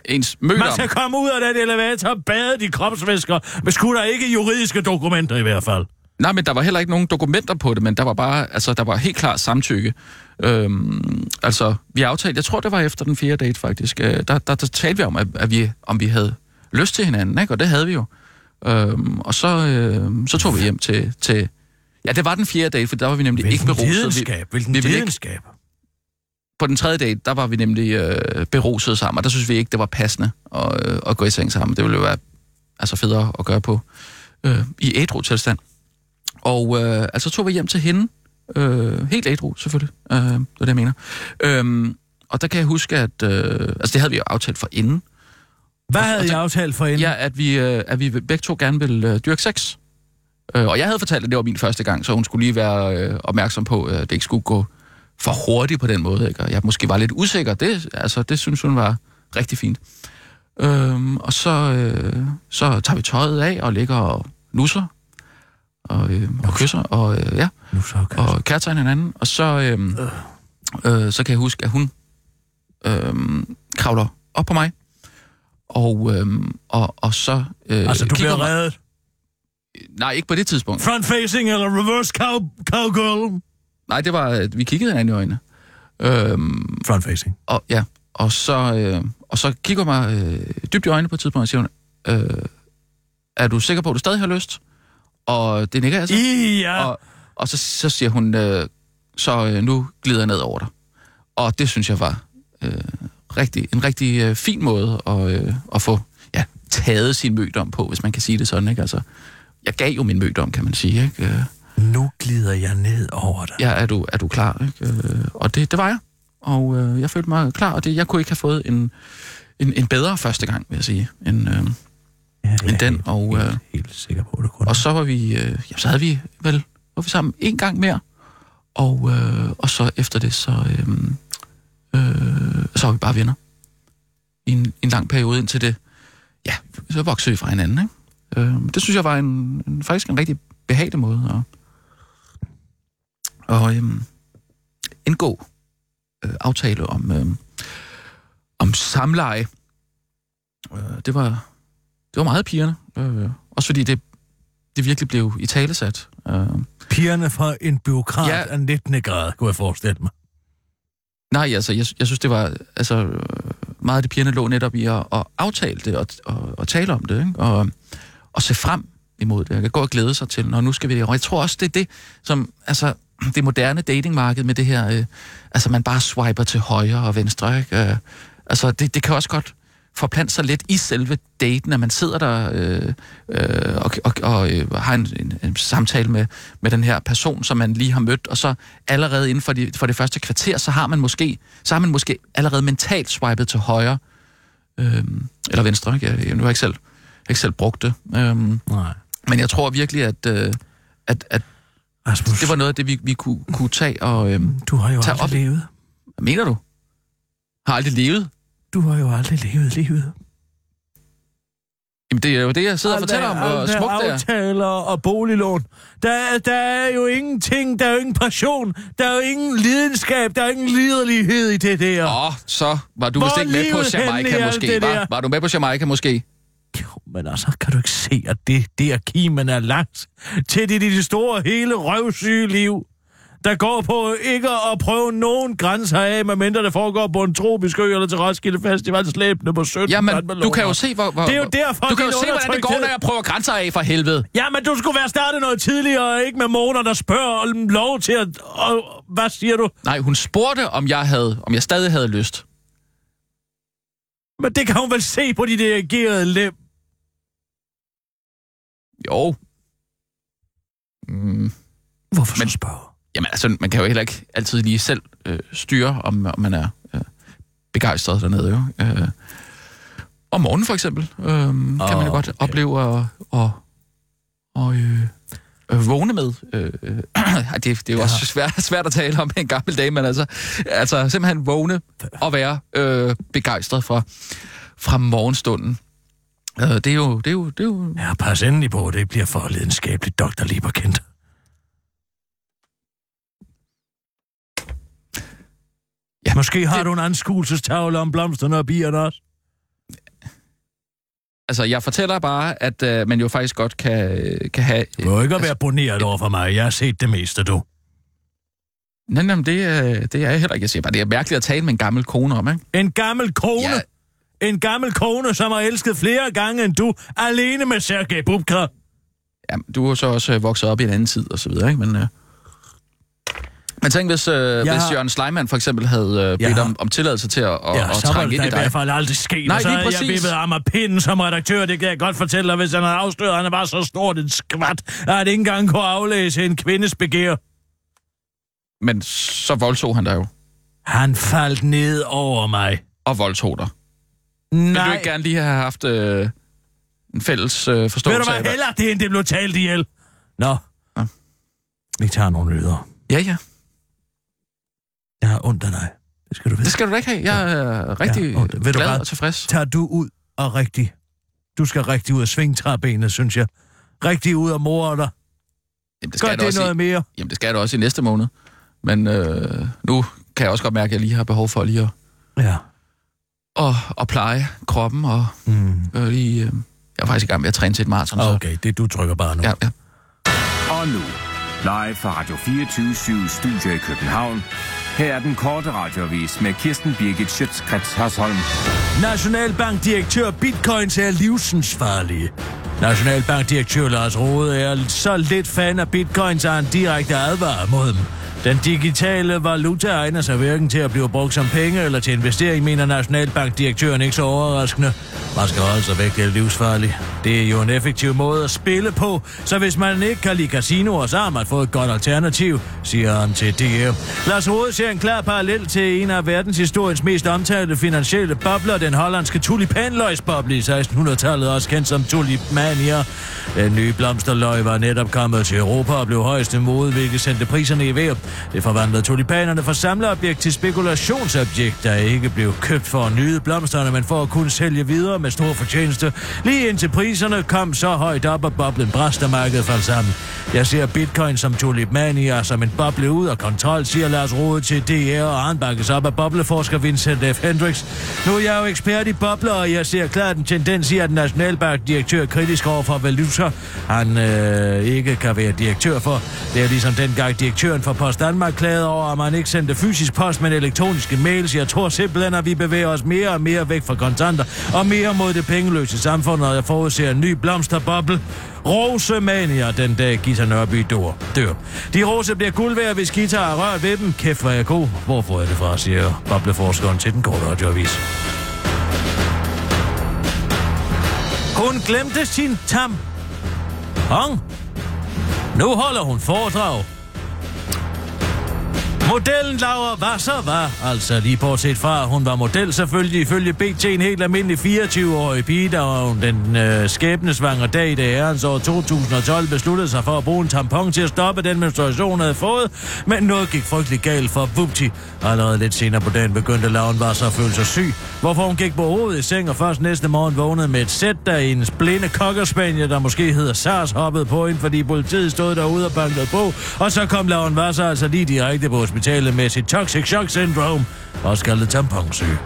ens møder.
Man skal komme ud af den elevator og bade i kropsvæsker, men skulle der ikke juridiske dokumenter i hvert fald.
Nej, men der var heller ikke nogen dokumenter på det, men der var bare, altså, der var helt klart samtykke. Øhm, altså, vi aftalte, jeg tror, det var efter den fjerde date, faktisk. Øh, der, der, der talte vi om, at, at vi, om vi havde lyst til hinanden, ikke? og det havde vi jo. Øhm, og så, øh, så tog vi hjem til, til... Ja, det var den fjerde date, for der var vi nemlig ikke
Hvilken
beruset.
videnskab, hvilken
vi, vi, ville ikke,
videnskab.
på den tredje date, der var vi nemlig øh, beruset sammen, og der synes vi ikke, det var passende at, øh, at gå i seng sammen. Det ville jo være altså federe at gøre på øh, i ædru tilstand. Og øh, altså tog vi hjem til hende, øh, helt ædru selvfølgelig, øh, det er det, jeg mener. Øhm, og der kan jeg huske, at øh, altså det havde vi jo aftalt for inden,
Hvad
Og-
havde
og
I
så-
aftalt for hende?
altså- Ja, at vi, øh, at vi begge to gerne vil øh, dyrke sex. Øh, og jeg havde fortalt, at det var min første gang, så hun skulle lige være øh, opmærksom på, øh, at det ikke skulle gå for hurtigt på den måde. Ikke? Og jeg måske var lidt usikker. Det, altså, det synes hun var rigtig fint. Øhm, og så, øh, så tager vi tøjet af og ligger og nusser og, øh, og kysser. Og, øh, ja,
Nu så, okay.
og kærtegn hinanden. Og så, øhm, øh, så kan jeg huske, at hun øhm, kravler op på mig. Og, øhm, og, og så... Øh,
Altså, du
kigger
bliver
mig-
reddet.
Nej, ikke på det tidspunkt.
Front-facing eller reverse cow, cowgirl?
Nej, det var, at vi kiggede hinanden i øjnene. Øhm,
Front-facing.
og, ja, og så, øh, og så kigger hun mig øh, dybt i øjnene på et tidspunkt, og siger hun, øh, er du sikker på, at du stadig har lyst? Og det nikker jeg så.
I, ja.
Og, og så, så siger hun, øh, så øh, nu glider jeg ned over dig. Og det synes jeg var øh, rigtig, en rigtig øh, fin måde at, øh, at få ja, taget sin mødom på, hvis man kan sige det sådan. Ikke? Altså, jeg gav jo min mødom, kan man sige. Ikke? Øh,
Nu glider jeg ned over dig.
ja, er du, er du klar? Ikke? Øh, og det, det var jeg. Og øh, jeg følte mig klar, og det, jeg kunne ikke have fået en, en, en bedre første gang, vil jeg sige, end, øh,
Ja, jeg
end
er
den.
helt-
og, øh,
Helt, helt sikker på, at du kunne.
og så var vi, øh, ja, så havde vi vel, var vi sammen en gang mere. Og, øh, og så efter det, så, øh, øh, så var vi bare venner. I en, en lang periode indtil det, ja, så voksede vi fra hinanden, ikke? Øh, det synes jeg var en, en, faktisk en rigtig behagelig måde at, at øh, indgå øh, aftale om, øh, om samleje. Øh, det var det var meget pigerne. Øh, også fordi det det virkelig blev i talesat. Uh,
Pigerne fra en byråkrat ja.
Ja.
af 19. grad, kunne jeg forestille mig.
nej, altså, jeg, jeg synes, det var... Altså, øh, meget af det pigerne lå netop i at, at aftale det og, og, og tale om det, ikke? Og, og se frem imod det. Jeg kan gå og glæde sig til, når nu skal vi det. Og jeg tror også, det er det, som... Altså, det moderne datingmarked med det her... Øh, altså, man bare swiper til højre og venstre, ikke? Øh, altså, det, det kan også godt forplante sig lidt i selve daten, at man sidder der øh, øh, og, og, og øh, har en, en, en samtale med, med den her person, som man lige har mødt, og så allerede inden for, de, for det første kvarter, så har man måske, så har man måske allerede mentalt swipet til højre, øh, eller venstre, ikke? Jeg, jeg, nu har jeg ikke selv, jeg har ikke selv brugt det. Øh,
Nej.
men jeg tror virkelig, at, øh, at, at
Rasmus,
det var noget af det, vi, vi kunne, kunne tage og... Øh,
du har jo
Tag
aldrig
op.
levet.
hvad mener du? Har aldrig levet?
Du har jo aldrig levet livet.
Jamen, det er jo det, jeg sidder og fortæller om, hvor
Aldrig
smukt det er.
aftaler og boliglån. Der, er- der er jo ingenting, der er jo ingen passion, der er jo ingen lidenskab, der er ingen liderlighed i det der.
Åh, oh, så var du
Hvor
vist ikke med
er
på
livet henne i
Jamaica
alt
måske,
det der?
var? Var du med på Jamaica måske?
Jo, men altså, kan du ikke se, at det der kimen er langt til det, det store hele røvsyge liv, der går på ikke at prøve nogen grænser af, medmindre det foregår på en tropisk ø eller til Roskilde Festival slæbende på 17
Jamen,
vandmeloner.
du kan jo se, hvor... hvor
Det er jo derfor,
du kan jo
din
se, hvordan det går,
undertrykthed-
når jeg prøver grænser af for helvede.
Ja, men du skulle være startet noget tidligere, og ikke med moner, der spørger om lov til at... Og, hvad siger du?
Nej, hun spurgte, om jeg, havde, om jeg stadig havde lyst.
Men det kan hun vel se på de dirigerede lem.
Jo. Mm.
Hvorfor men...
Men-
så spørge?
Jamen, altså, man kan jo heller ikke altid lige selv øh, styre, om, om man er øh, begejstret dernede, jo. Øh, om morgenen, for eksempel, øh, kan man
Åh,
jo godt
okay.
opleve at... Og, og, øh, øh, vågne med. Øh, øh, ej, det, det er jo ja. også svært, svært at tale om en gammel dame, men altså, altså simpelthen vågne og være øh, begejstret fra, fra morgenstunden. Øh, det er jo... Det er jo, det er jo
Ja, pas endelig på, det bliver for lidenskabeligt Dr. Lieberkind. Ja,
Ja,
Måske har det...
det-
du en anskuelsestavle om blomsterne og bierne også.
altså, jeg fortæller bare, at øh, man jo faktisk godt kan, øh, kan have...
Du må ikke at være boneret over for mig. Jeg har set det meste, du.
Nej, nej, men det, øh, det er jeg heller ikke. Jeg siger bare, det er mærkeligt at tale med en gammel kone om, ikke?
En gammel kone.
Ja.
Ja. En gammel kone, som har elsket flere gange end du, alene med Sergej Bubka.
Ja, du er jo så også øh, vokset op i en anden tid og så videre, ikke? Men, øh, Men tænk, hvis, øh, hvis
har-
Jørgen Sleiman for eksempel havde øh, bedt
har-
om, om tilladelse til at, at,
Ja,
at
så var
trænge
det da
ind i
i hvert
dig.
fald aldrig sket.
Nej,
og så
lige
havde
præcis.
jeg vippet ham af pinden som redaktør, det kan jeg godt fortælle dig, hvis han havde afsløret, at han var så stort en skvat, at han ikke engang kunne aflæse en kvindes begær.
Men så voldtog han dig jo.
Han faldt ned over mig.
Og voldtog dig. Vil du
Nej,
ikke gerne lige have haft øh, en fælles øh,
ved du
forståelse af
hvad, heller det, end det blev talt ihjel. Nå,
Ja.
vi tager nogle nyheder.
Ja, ja.
Jeg har ondt af dig. Det skal du vide.
Det skal du da ikke have. Jeg er rigtig
Ja, og det- ved du
glad
hvad?
og tilfreds.
tager du ud og rigtig. Du skal rigtig ud af svingtræbenet, synes jeg. Rigtig ud af mor dig.
Jamen, det
Gør
skal, jeg da
det
også
noget
i,
mere.
jamen, det skal jeg da også i næste måned. Men øh, nu kan jeg også godt mærke, at jeg lige har behov for lige at,
Ja.
at, at pleje kroppen. Og
Mm.
øh, lige, øh, jeg er faktisk i gang med at træne til et maraton. så-
Okay, det du trykker bare nu.
Ja, ja.
Og nu, live fra Radio 24 Studio i København. Her er den korte radiovis med Kirsten Birgit Schøtzgrads Hasholm.
Nationalbankdirektør bitcoins er livsensfarlige. Nationalbankdirektør Lars Rode er så lidt fan af bitcoins, at han direkte advarer mod dem. Den digitale valuta egner sig hverken til at blive brugt som penge eller til investering, mener Nationalbankdirektøren ikke så overraskende. Man skal holde sig væk, det er livsfarligt. Det er jo en effektiv måde at spille på, så hvis man ikke kan lide casinoer, så har man fået et godt alternativ, siger han til DR. Lars Rode ser en klar parallel til en af verdenshistoriens mest omtalte finansielle bobler, den hollandske tulipanløgsboble i 1600-tallet, også kendt som tulipmania. Den nye blomsterløg var netop kommet til Europa og blev højeste mode, hvilket sendte priserne i vejr. Det forvandlede tulipanerne fra samlerobjekt til spekulationsobjekt, der ikke blev købt for at nyde blomsterne, men for at kunne sælge videre med stor fortjeneste. Lige indtil priserne kom så højt op, at boblen brast og markedet faldt sammen. Jeg ser bitcoin som tulipmania, som en boble ud af kontrol, siger Lars Rode til DR, og han bakkes op af bobleforsker Vincent F. Hendricks. Nu er jeg jo ekspert i bobler, og jeg ser klart en tendens i, at nationalbankdirektør er kritisk over for valuta, han øh, ikke kan være direktør for. Det er ligesom dengang direktøren for Post Danmark klagede over, at man ikke sendte fysisk post, men elektroniske mails. Jeg tror simpelthen, at vi bevæger os mere og mere væk fra kontanter, og mere mod det pengeløse samfund, og jeg forudser en ny blomsterboble. Rosemania, den dag Gita Nørby dør. dør. De rose bliver guld værd, hvis Gita har rørt ved dem. Kæft, hvor er jeg god. Hvor får jeg det fra, siger bobleforskeren til den korte radioavis. Hun glemte sin tam. Hong. Nu holder hun foredrag. Modellen Laura Wasser var, altså lige bortset fra, at hun var model selvfølgelig ifølge BT en helt almindelig 24-årig pige, da hun den øh, skæbnesvangre dag i det herrens år 2012 besluttede sig for at bruge en tampon til at stoppe den menstruation, hun havde fået, men noget gik frygtelig galt for Vupti. Allerede lidt senere på dagen begyndte Laura Wasser at føle sig syg, hvorfor hun gik på hovedet i seng og først næste morgen vågnede med et sæt, da hendes blinde kokkerspanier, der måske hedder SARS, hoppede på hende, fordi politiet stod derude og bankede på, og så kom Lauren Wasser altså lige direkte på hospitalet med sit toxic shock syndrome, også kaldet tamponsyge.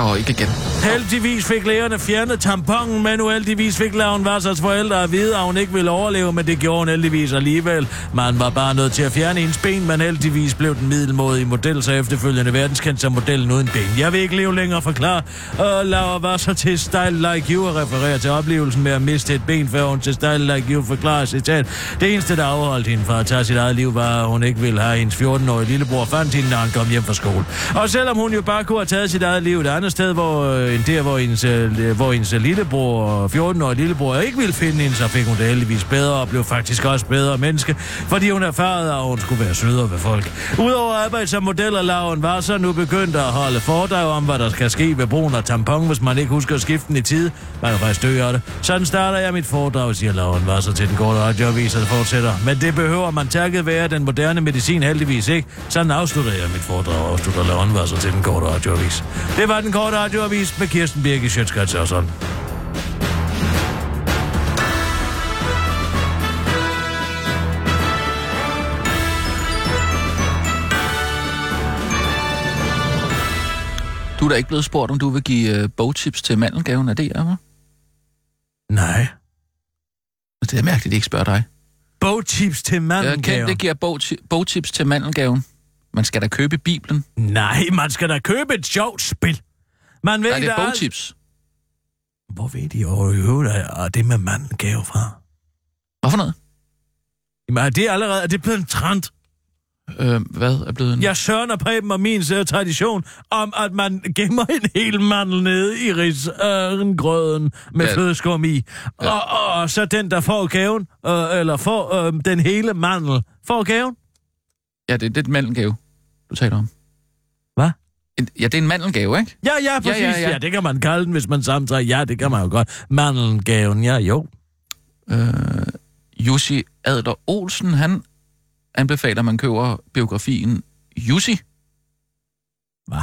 Åh, ikke igen.
Heldigvis fik lægerne fjernet tamponen, men uheldigvis fik Lauren Vassers forældre at vide, at hun ikke ville overleve, men det gjorde hun heldigvis alligevel. Man var bare nødt til at fjerne hendes ben, men heldigvis blev den middelmodige model, så efterfølgende verdenskendt som modellen uden ben. Jeg vil ikke leve længere, forklare. Og Laura Vasser til Style Like You og refererer til oplevelsen med at miste et ben, før hun til Style Like You forklarer citat. Det eneste, der afholdt hende fra at tage sit eget liv, var, at hun ikke ville have hendes 14-årige lillebror fandt hende, når han kom hjem fra skole. Og selvom hun jo bare kunne have taget sit eget liv et andet sted, hvor, øh, end der, hvor hendes, øh, hvor hendes lillebror, 14-årige lillebror, ikke ville finde hende, så fik hun det heldigvis bedre og blev faktisk også bedre menneske, fordi hun erfarede, at hun skulle være sødere ved folk. Udover at arbejde som model og laven var så nu begyndt at holde foredrag om, hvad der skal ske ved brugen af tampon, hvis man ikke husker at skifte den i tide. Man kan faktisk dø af det. Sådan starter jeg mit foredrag, siger Lauren Vasser til den korte radioavis, og det fortsætter. Men det behøver man takket være den moderne medicin heldigvis ikke. Sådan afslutter jeg mit foredrag, afslutter Lauren Vasser til den korte radioavis. Det var den korte radioavis med Kirsten Birke Sjøtskrets og sådan.
Du er da ikke blevet spurgt, om du vil give øh, bogtips til mandelgaven af DR, hva'?
Nej.
Det er mærkeligt, at de ikke spørger dig.
Bogtips til
Jeg kan
mandelgaven.
det giver bogti- bogtips til mandelgaven. Man skal da købe Bibelen.
Nej, man skal da købe et sjovt spil. Man ved
Nej, det
da
er
alt-
bogtips.
Hvor ved de overhovedet, at det med manden gav fra?
Hvorfor noget?
Mm. Jamen, er det allerede, er det blevet en trend?
øh, hvad er blevet en...
Jeg sørner Preben og min øh, tradition om, at man gemmer en hel mandel nede i risgrøden med
Ja.
ja. flødeskum i. Ja. Og, og, og så den, der får gaven, øh, eller får øh, den hele mandel, får gaven.
Ja, det, det er en mandelgave, du taler om.
Hvad?
En, ja, det er en mandelgave, ikke?
Ja, ja, præcis. Ja, ja, ja. ja, det kan man kalde den, hvis man samtager. Ja, det kan man jo godt. Mandelgaven, ja, jo.
Jussi Adler Olsen, han anbefaler, at man køber biografien Jussi.
Hvad?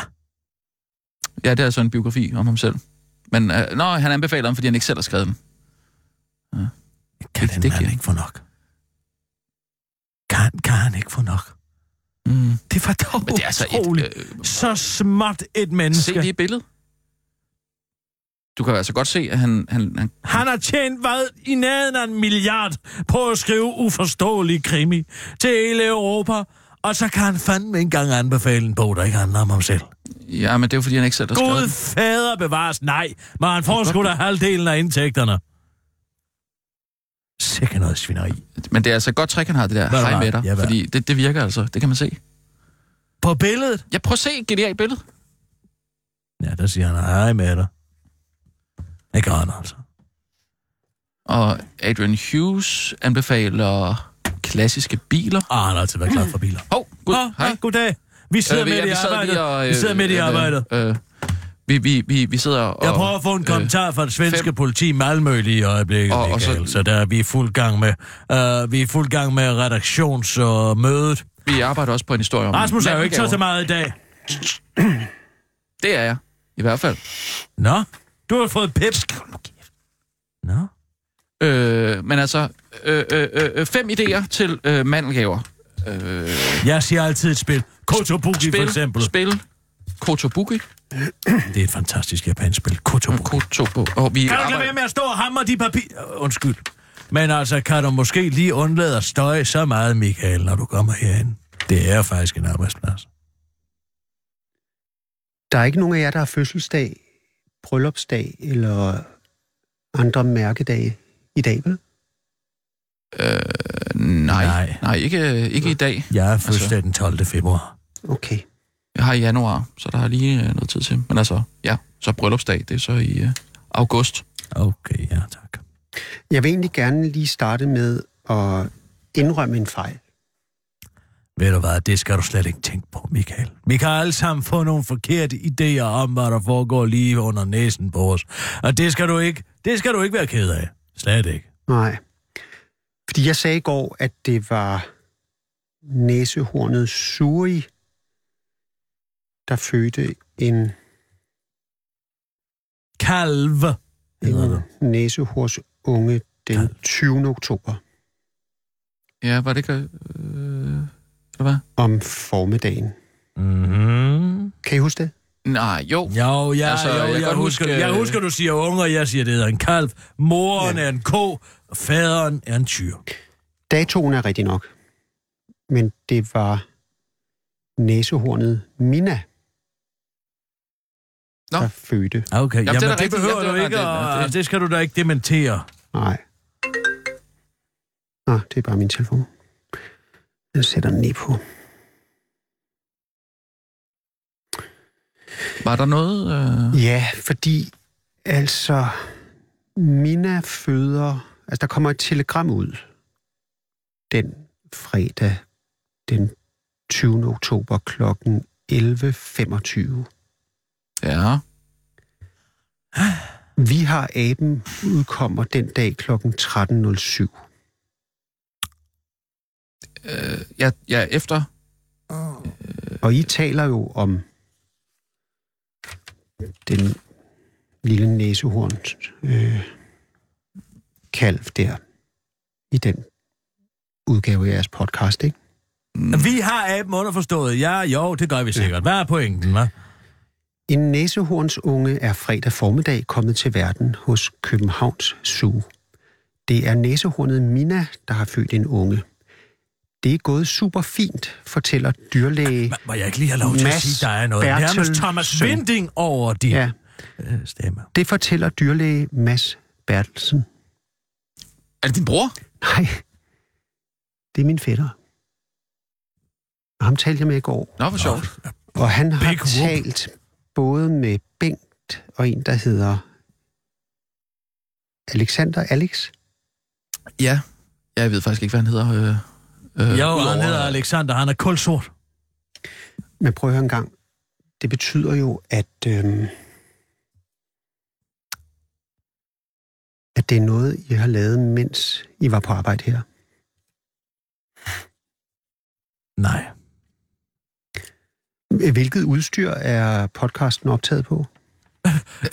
Ja, det er altså en biografi om ham selv. Men øh, nå, han anbefaler den, fordi han ikke selv har skrevet den.
Kan
Det-
den
det
mand
kan-
ikke få nok? Kan, kan han ikke få nok?
Mm.
Det var dog
Men det er altså
utroligt.
et... Øh,
Så småt et
se
menneske.
lige billedet. Du kan altså godt se, at han... han, han
Han har tjent hvad i nærheden af en milliard på at skrive uforståelige krimi til hele Europa. Og så kan han fandme ikke engang anbefale en bog, der ikke handler om ham selv.
ja, men det er jo, fordi han ikke selv har skrevet
Gud
den.
fader bevares, nej. Men han får sgu da halvdelen af indtægterne. Sikke noget svineri.
Men det er altså et godt træk, han har det der.
Hvad er der
Hej med
var?
dig.
Ja, hvad?
fordi det, det virker altså. Det kan man se.
På billedet?
Ja, prøv at se et genialt billede.
Ja, der siger han, hej med dig. Det gør han altså.
Og Adrian Hughes anbefaler klassiske biler.
Ah, han har altid været klar for biler.
Hov, oh, gud,
Åh,
hej.
ah, goddag. Vi sidder
Øh,
med
ja,
i
sad
arbejdet.
lige og,
vi sidder med i
øh,
arbejdet.
Øh, vi, vi, vi, vi sidder og... øh,
Jeg prøver at få en kommentar fra det svenske
fem-
politi i Malmø lige i øjeblikket,
Og-
og,
og
Michael,
så-
så, der er vi i fuld gang med, uh, vi er i fuld gang med redaktions- og mødet.
Øh, vi arbejder også på en historie om...
Rasmus er jo ikke så, så
mandelgaver.
meget i dag.
Det er jeg, i hvert fald.
Nå, du har fået pip. Nå,
Øh, men altså, øh, øh, øh, øh, fem idéer til øh, mandelgaver. Øh,
jeg siger altid et spil. Kotobuki for
Spil,
eksempel.
spil, Kotobuki.
Det er et fantastisk japansk spil. Kotobuki.
Kotobuki. Og
Kan du
vi
ikke lade
arbejder-
være med at stå og hamre de papir... Øh, Undskyld. Men altså, kan du måske lige undlade at støje så meget, Michael, når du kommer herind? Det er faktisk en arbejdsplads.
Der er ikke nogen af jer, der har fødselsdag, bryllupsdag eller andre mærkedage i dag, vel?
Nej, nej,
Nej.
ikke, øh, ikke i dag.
Jeg er fødselsdag den 12. februar.
Okay.
Jeg har i januar, så der er lige øh, noget tid til. Men altså, ja, så bryllupsdag, det er så i øh, august.
Okay, ja tak.
Jeg vil egentlig gerne lige starte med at indrømme en fejl.
Ved du hvad, det skal du slet ikke tænke på, Michael. Vi kan alle sammen få nogle forkerte idéer om, hvad der foregår lige under næsen på os. Og det skal du ikke, det skal du ikke være ked af. Slet ikke.
Nej. Fordi jeg sagde i går, at det var næsehornet Suri, der fødte en,
Kalve.
en næsehors unge den 20. oktober
Ja, var det ikke... Øh, eller hvad?
om formiddagen.
Mm-hmm.
Kan I huske det?
Nej, jo.
Jo, ja, altså,
Altså,
jo,
jeg
jeg,
kan
jeg,
godt
husker,
huske,
huske, jeg
øh,
husker, du siger unger, jeg siger, det hedder en kalv. Moren
Ja.
ja. er en ko, faderen er en tyr.
Datoen er rigtig nok, men det var næsehornet Mina,
Nå.
der fødte.
Okay, jamen,
det er
jamen, det, det
da rigtigt.
behøver
Ja, det
du
er-
ikke,
nej, det- nej,
og
det-
det skal du da ikke dementere.
Nej. Nej, det er bare min telefon. Jeg sætter den lige på.
Var der noget... Øh,
Ja, fordi altså, Mina føder... Altså, der kommer et telegram ud den fredag, den 20. oktober kl. 11.25.
ja.
Vi har aben udkommer den dag kl. 13.07.
Øh, ja, ja, efter...
Og I taler jo om den lille næsehorns øh, kalv der i den udgave af jeres podcast, ikke?
Mm.
Vi har aben underforstået. Ja, jo, det gør vi sikkert. Hvad er pointen, hva'?
En næsehornsunge er fredag formiddag kommet til verden hos Københavns Zoo. Det er næsehornet Mina, der har født en unge. Det er gået super fint, fortæller dyrlæge.
Må jeg ikke lige have lov til
Mads
at sige, der er noget
Bertelsen.
nærmest Thomas Vinding over din
Ja,
ja. stemme?
det fortæller dyrlæge Mads Bertelsen.
Er det din bror?
Nej, det er min fætter. Og ham talte jeg med i går.
Nå, hvor sjovt.
Og han har
Big whoop.
talt både med Bengt og en, der hedder Alexander Alex.
Ja, jeg ved faktisk ikke, hvad han hedder. Øh, øh,
Jo,
udover-
han hedder Alexander, han er kulsort.
Men prøv at høre en gang. Det betyder jo, at, øhm, at det er noget, I har lavet, mens I var på arbejde her.
Nej,
Hvilket udstyr er podcasten optaget på?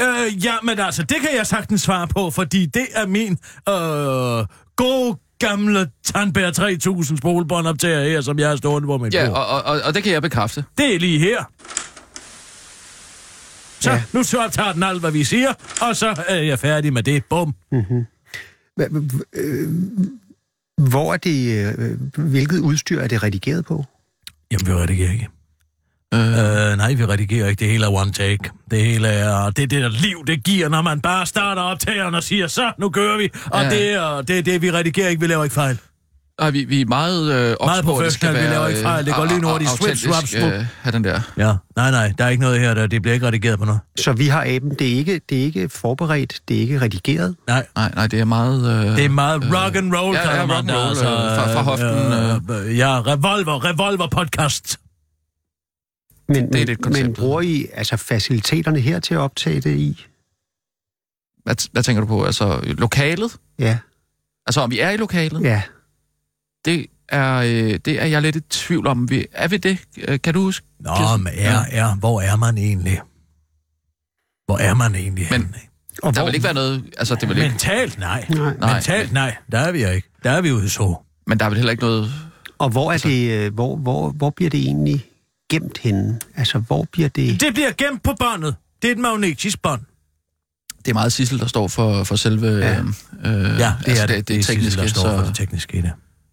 Øh, ja, men altså, det kan jeg sagtens svare på, fordi det er min øh, gode gamle Tandbær 3000 spolebåndoptager her, som jeg har stående på min
Ja,
ja,
og, og, og, og det kan jeg bekræfte.
Det er lige her. Så,
Ja.
ja. nu så optager den alt, hvad vi siger, og så er jeg færdig med det. Bum.
Hva- hva- øh, Hvor er det, øh, hvilket udstyr er det redigeret på?
Jamen, vi redigerer ikke. Øh. Øh, nej, vi redigerer ikke. Det hele er one take. Det hele er det, er det der liv, det giver, når man bare starter optageren og siger, så, nu kører vi. Og
Ja.
ja. det, er, det er det, vi redigerer ikke. Vi laver ikke fejl.
Og vi, vi er meget øh, ops
Meget
på, at det skal
professionelle,
være...
vi laver ikke fejl. Det går
øh,
lige nu, og de
au-
switch
autentisk,
swaps på.
øh, have den der.
Ja, nej, nej, der er ikke noget her, der det bliver ikke redigeret på noget.
Så vi har aben, det er ikke, det er ikke forberedt, det er ikke redigeret.
Nej,
Nej, nej, det er meget... Øh,
det er meget rock and roll,
ja, ja,
kalder man det, altså,
rock'n'roll, øh, fra- fra hoften,
øh, ja, revolver, revolver podcast.
Men,
Det er lidt
men, men
konceptet.
bruger I altså faciliteterne her til at optage det i?
hvad, t- hvad tænker du på? Altså, lokalet?
Ja,
Altså, om vi er i lokalet?
ja.
Det er, øh, det er jeg lidt i tvivl om. Vi, er vi det? Øh, Kan du huske?
Nå,
Kirsten,
men er, er, hvor er man egentlig? Hvor er man egentlig?
Men-
henne?
Og
Der
hvor,
vil ikke være noget... Altså, det vil ikke,
Mentalt nej.
Nej.
Nej.
Mentalt nej, der er vi ikke. Der er vi ude så.
men der er vel heller ikke noget...
og hvor,
Altså-
er det, øh, hvor, hvor, hvor bliver det egentlig gemt henne? Altså, hvor bliver det...
Det bliver gemt på båndet. Det er et magnetisk bånd.
Det er meget Sissel, der står for, for selve...
Ja.
øh, øh,
Ja, det
altså,
er det, det, er tekniske, der står for det tekniske i det.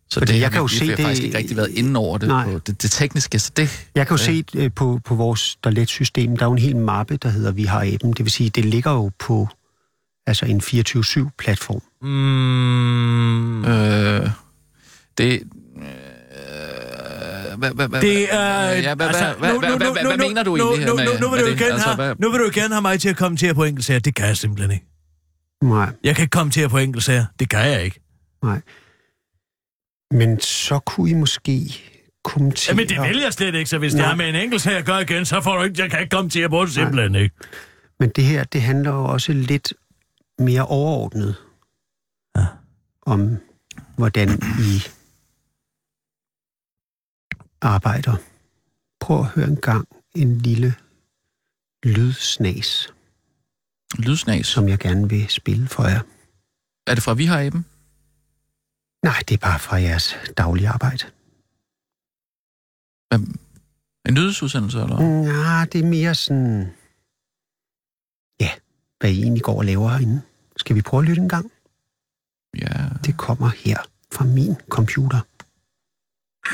Så
Fordi
det,
jeg kan jo
vi,
se
vi har
det-
faktisk ikke rigtig været inde over det,
Nej.
på det, det tekniske, så det...
Jeg kan jo
Ja.
se øh, på, på vores toiletsystem, der er jo en hel mappe, der hedder Vi har aben. Det vil sige, det ligger jo på altså en 24-7-platform.
Mm,
Øh, det... øh, Hvad, hvad, hvad,
Det er...
Ja, hvad,
altså,
altså, hvad,
nu-
hvad,
nu-
hvad,
nu-
hvad, hvad
nu-
mener du
nu-
egentlig
nu-
med,
nu- nu vil
med
du altså.
det? altså,
igen have-
hvad,
Nu vil du igen have mig til at komme til at på enkeltsager. Det kan jeg simpelthen ikke.
Nej,
Jeg kan ikke komme til at på enkeltsager. Det kan jeg ikke.
nej. Men så kunne I måske kommentere...
Jamen, det vil jeg slet ikke, så hvis det
Nej.
er med en enkeltsager at gøre igen, så får du ikke... Jeg kan ikke komme til at på det simpelthen ikke.
Men det her, det handler jo også lidt mere overordnet
Ja.
om, hvordan I arbejder. Prøv at høre en gang en lille lydsnas,
Lydsnas.
som jeg gerne vil spille for jer.
Er det fra Vi har Aben?
Nej, det er bare fra jeres daglige arbejde.
Hvem? En nyhedsudsendelse, eller? Mm.
Nej, det er mere sådan... Ja, hvad I egentlig går og laver herinde. Skal vi prøve at lytte en gang?
Ja.
Det kommer her fra min computer.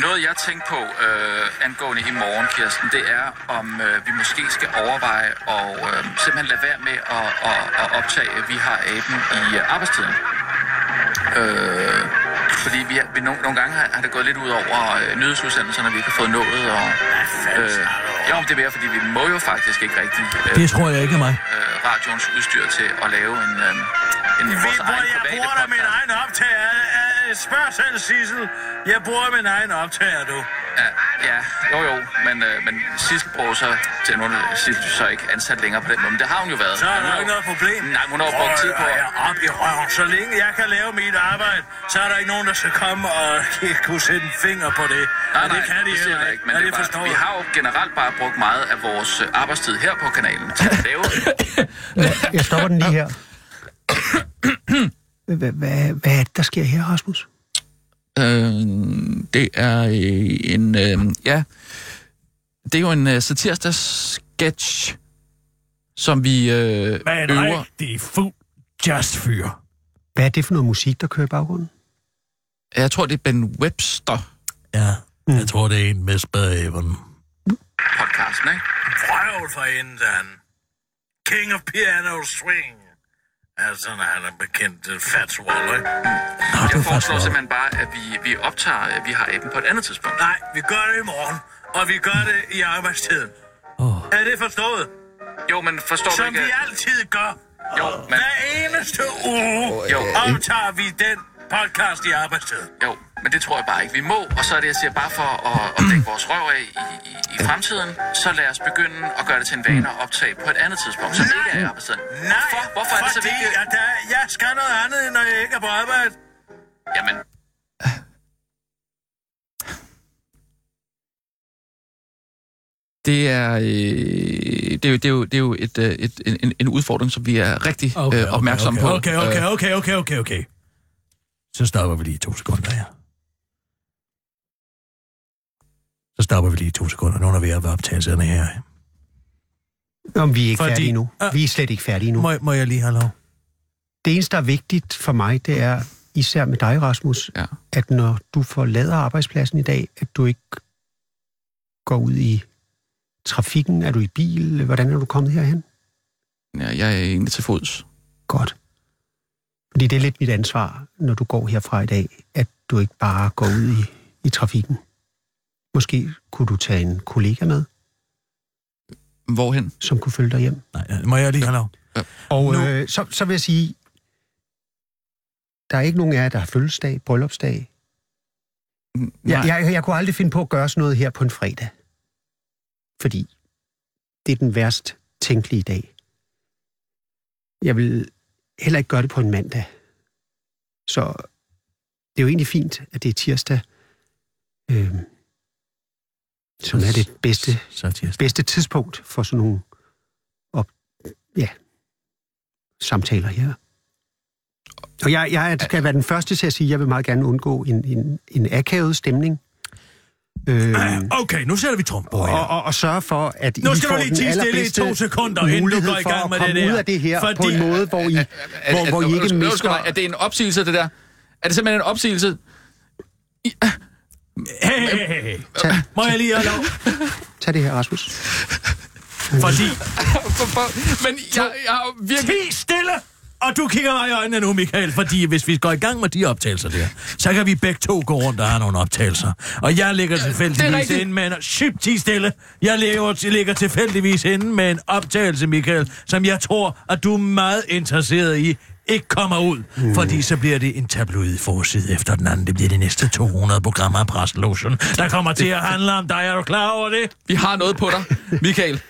Noget, jeg tænkte på øh, angående i morgen, Kirsten, det er, om øh, vi måske skal overveje og øh, simpelthen lade være med at, at, at optage, at vi har aben i øh, arbejdstiden. Øh, fordi vi, har, vi nogle, nogle gange har, har det gået lidt ud over øh, nyhedsudsendelserne, vi ikke har fået nået. Og, øh, jo, men det er mere, fordi vi må jo faktisk ikke rigtig øh,
Det tror jeg ikke er mig.
øh, radioens udstyr til at lave en, øh, en vores egen private podcast.
egen optager. Spørg selv, Sissel. Jeg bruger min egen optager, du.
Ja, ja, jo jo, men, øh, men Sissel bruger så, til nu er Sissel så ikke ansat længere på den måde, men det har hun jo været. Men hun har jo-
problem.
Nej, hun har jo brugt tid på...
Rør jer op i røven. Så længe jeg kan lave mit arbejde, så er der ikke nogen, der skal komme og ikke kunne sætte en finger på det.
Nej,
og
nej,
det kan de
det siger
heller ikke.
jeg ikke, men
og
det er
forstår
bare, vi
jeg.
har jo generelt bare brugt meget af vores øh, arbejdstid her på kanalen til at lave.
Jeg stopper den lige her. Hvad, hvad, hvad er det, der sker her, Rasmus?
øh, det er øh, en... Øh, ja, det er jo en øh, satirsdags sketch, som vi øh,
Med en rigtig fuld jazzfyr.
Hvad er det for noget musik, der kører i baggrunden?
Jeg tror, det er Ben Webster.
Ja, mm. jeg tror, det er en med spædæven.
Podcasten, ikke?
Røvel for enden. King of Piano Swing.
Altså, når han er bekendt
øh,
uh, fatswaller.
Nå, du
Jeg
er
foreslår
faktisk
simpelthen bare, at vi, vi optager, at vi har aben på et andet tidspunkt.
Nej, vi gør det i morgen, og vi gør det i arbejdstiden.
Åh.
Er det forstået?
Jo, men forstår du
Som
ikke?
vi
at-
altid gør.
Jo, men,
Hver eneste uge
Jo.
optager vi den podcast i arbejdstiden.
jo, men det tror jeg bare ikke, vi må. Og så er det, jeg siger, bare for at opdække vores røv af i, i, i fremtiden, så lad os begynde at gøre det til en vane at optage på et andet tidspunkt, som ikke er i arbejdstiden.
Nej,
Hvorfor? Hvorfor er det så
fordi
vigtigt?
at der, jeg skal noget andet, når jeg ikke er på arbejde.
Jamen,
Det er, øh, det er, jo, det er, jo, det er jo et, øh, et, en- en, en udfordring, som vi er rigtig
Okay,
øh, opmærksomme
okay,
på.
okay,
Øh,
Okay, okay, okay, okay, okay. Så stopper vi lige to sekunder her. Så stopper vi lige to sekunder. Nu er vi ved optagelserne her.
Om vi er ikke
Fordi-
Fordi... færdige nu.
Ah.
Vi er slet ikke færdige nu.
Må, må jeg lige have lov?
Det eneste, der er vigtigt for mig, det er især med dig, Rasmus,
Ja.
at når du forlader arbejdspladsen i dag, at du ikke går ud i trafikken. Er du i bil? Hvordan er du kommet herhen?
Øh, Ja, jeg er egentlig til fods.
Godt. Fordi det er lidt mit ansvar, når du går herfra i dag, at du ikke bare går ud i, i trafikken. Måske kunne du tage en kollega med,
Hvorhen?
som kunne følge dig hjem.
Nej, øh, må jeg lige have lov?
Og
Nu-
øh, så, så vil jeg sige, der er ikke nogen af jer, der har fødselsdag, bryllupsdag,
Nej.
Jeg, jeg, jeg kunne aldrig finde på at gøre sådan noget her på en fredag. Fordi det er den værst tænkelige dag. Jeg vil heller ikke gøre det på en mandag. Så det er jo egentlig fint, at det er tirsdag, øh, som er det bedste,
Så tirsdag.
bedste tidspunkt for sådan nogle op, ja, samtaler her. Og jeg, jeg skal være den første til at sige, at jeg vil meget gerne undgå en, en, en akavet stemning. Øh,
Okay, nu sætter vi trump på her.
og, og, og sørge for, at I
Nu skal
får
du lige
den
tie stille i
allerbedste
to sekunder, inden du
mulighed
går i
for
gang
at
med det
komme
der.
ud af det her på
Fordi-
en måde, hvor I, hvor, hvor I ikke
undskyld- undskyld
mister...
mig, Er det en opsigelse, det der? Er det simpelthen en opsigelse?
Hey, hey, hey, hey.
Tag,
Må jeg lige have lov?
tag det her, Rasmus.
Fordi...
Hvorfor? Men jeg, jeg har virkelig...
Ti stille! Og du kigger mig i øjnene nu, Michael, fordi hvis vi går i gang med de optagelser der, så kan vi begge to gå rundt og have nogle optagelser. Og jeg ligger tilfældigvis
rigtigt.
inde med en... Ship, ti stille! Jeg ligger, ligger tilfældigvis inde med en optagelse, Michael, som jeg tror, at du er meget interesseret i ikke kommer ud, mm. fordi så bliver det en tabloid forside efter den anden. Det bliver de næste 200 programmer af Preslogen, der kommer til at handle om dig. Er du klar over det?
Vi har noget på dig, Michael.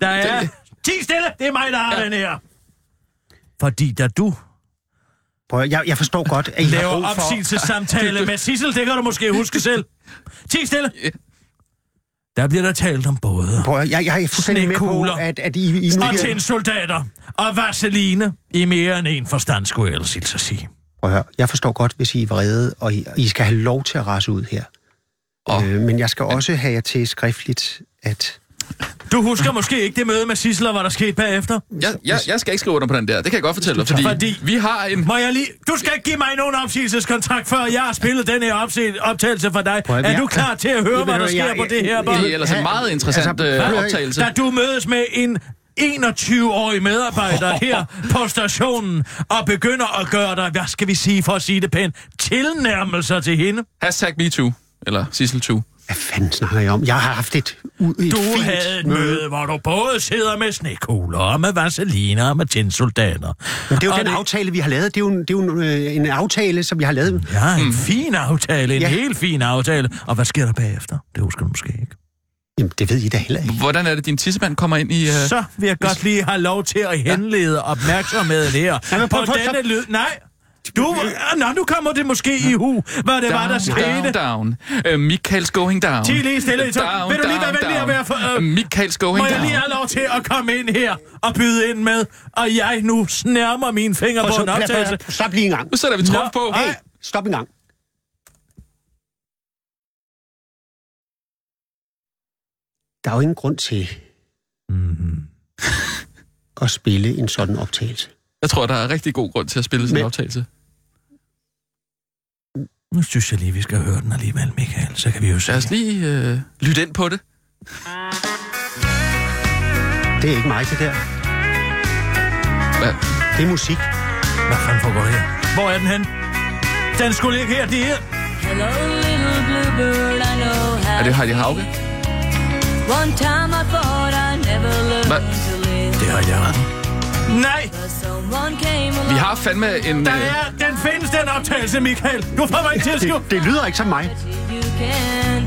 Der er...
Det-
Ti stille! Det er mig, der har ja. den her! Fordi da du
Prøv, at- jeg, jeg forstår godt, at I har brug
laver
for...
opsigelsessamtale med Sissel, det kan du måske huske selv. Ti stille! Der bliver der talt om både
Prøv, at- jeg, jeg er fuldstændig med på,
Snekugler.
at, at I, I nu...
og tændsoldater og vaseline i mere end en forstand, skulle jeg ellers hilse at sige.
Prøv at høre, jeg forstår godt, hvis I er vrede, og I, og I skal have lov til at rase ud her.
Og-
Oh. Øh, men jeg skal også have jer til skriftligt, at...
Du husker måske ikke det møde med Sissel, og hvad der skete bagefter?
Jeg, jeg, jeg skal ikke skrive under på den der. Det kan jeg godt fortælle dig, fordi,
Fordi-
fordi... vi har en...
Må jeg lige... Du skal ikke give mig nogen opsigelseskontrakt, før jeg har spillet den her opse- optagelse for dig.
at-
Er
jeg-
du klar til at høre,
Jeg-
hvad der
jeg-
sker
jeg-
på det her
jeg-
bånd?
Det er ellers en meget interessant
Altså,
altså,
prøv-
øh, optagelse.
Da du mødes med en 21-årig medarbejder her på stationen og begynder at gøre dig, hvad skal vi sige for at sige det pænt, tilnærmelser til hende.
Hashtag MeToo, eller Sissel 2.
Hvad fanden snakker jeg om? Jeg har haft et, u- et
Du
fint
havde et møde, hvor du både sidder med snekugler og med vaseliner og med tændsoldater.
Men det er jo
Og
den aftale, vi har lavet. Det er jo, en- det er jo en, øh, en aftale, som vi har lavet.
Ja, en fin aftale, en
Mm. Ja.
helt fin aftale. Og hvad sker der bagefter? Det husker du måske ikke.
Jamen, det ved I da heller ikke.
Hvordan er det, din tissemand kommer ind i... Øh...
Så vil jeg godt lige have lov til at henlede opmærksomheden her.
men
På
prøv- prøv-
denne lyd... Nej! Du, nå, nu kommer det måske i hu, hvad det var, der skete.
Down, down. Uh, Michael's going down.
Ti lige stille i to. Vil du lige være venlig at være for...
Uh,
Øh,
Michael's going
må jeg
down.
lige have lov til at komme ind her og byde ind med, og jeg nu snærmer mine fingre på en optagelse.
Stop lige en gang.
Nu sætter vi trumf
Nå,
på.
ej.
Hey.
Hey, stop en gang. Der er jo ingen grund til at spille en sådan optagelse.
Jeg tror, der er rigtig god grund til at spille sådan en
Men-
optagelse.
Nu synes jeg lige, vi skal høre den alligevel, Michael. Så kan vi jo se.
Lad os lige øh, lytte ind på det.
Det er ikke mig, det der.
Hvad?
Det er musik.
Hvad fanden foregår her? Hvor er den hen? Den skulle ikke her, det her.
Er det Heidi Hauge? Hvad?
Det har jeg. Nej,
Vi har fandme en...
der
øh,
er, den findes, den optagelse, Michael. Du får mig ikke til at skrive.
Det, det lyder ikke som mig.
You can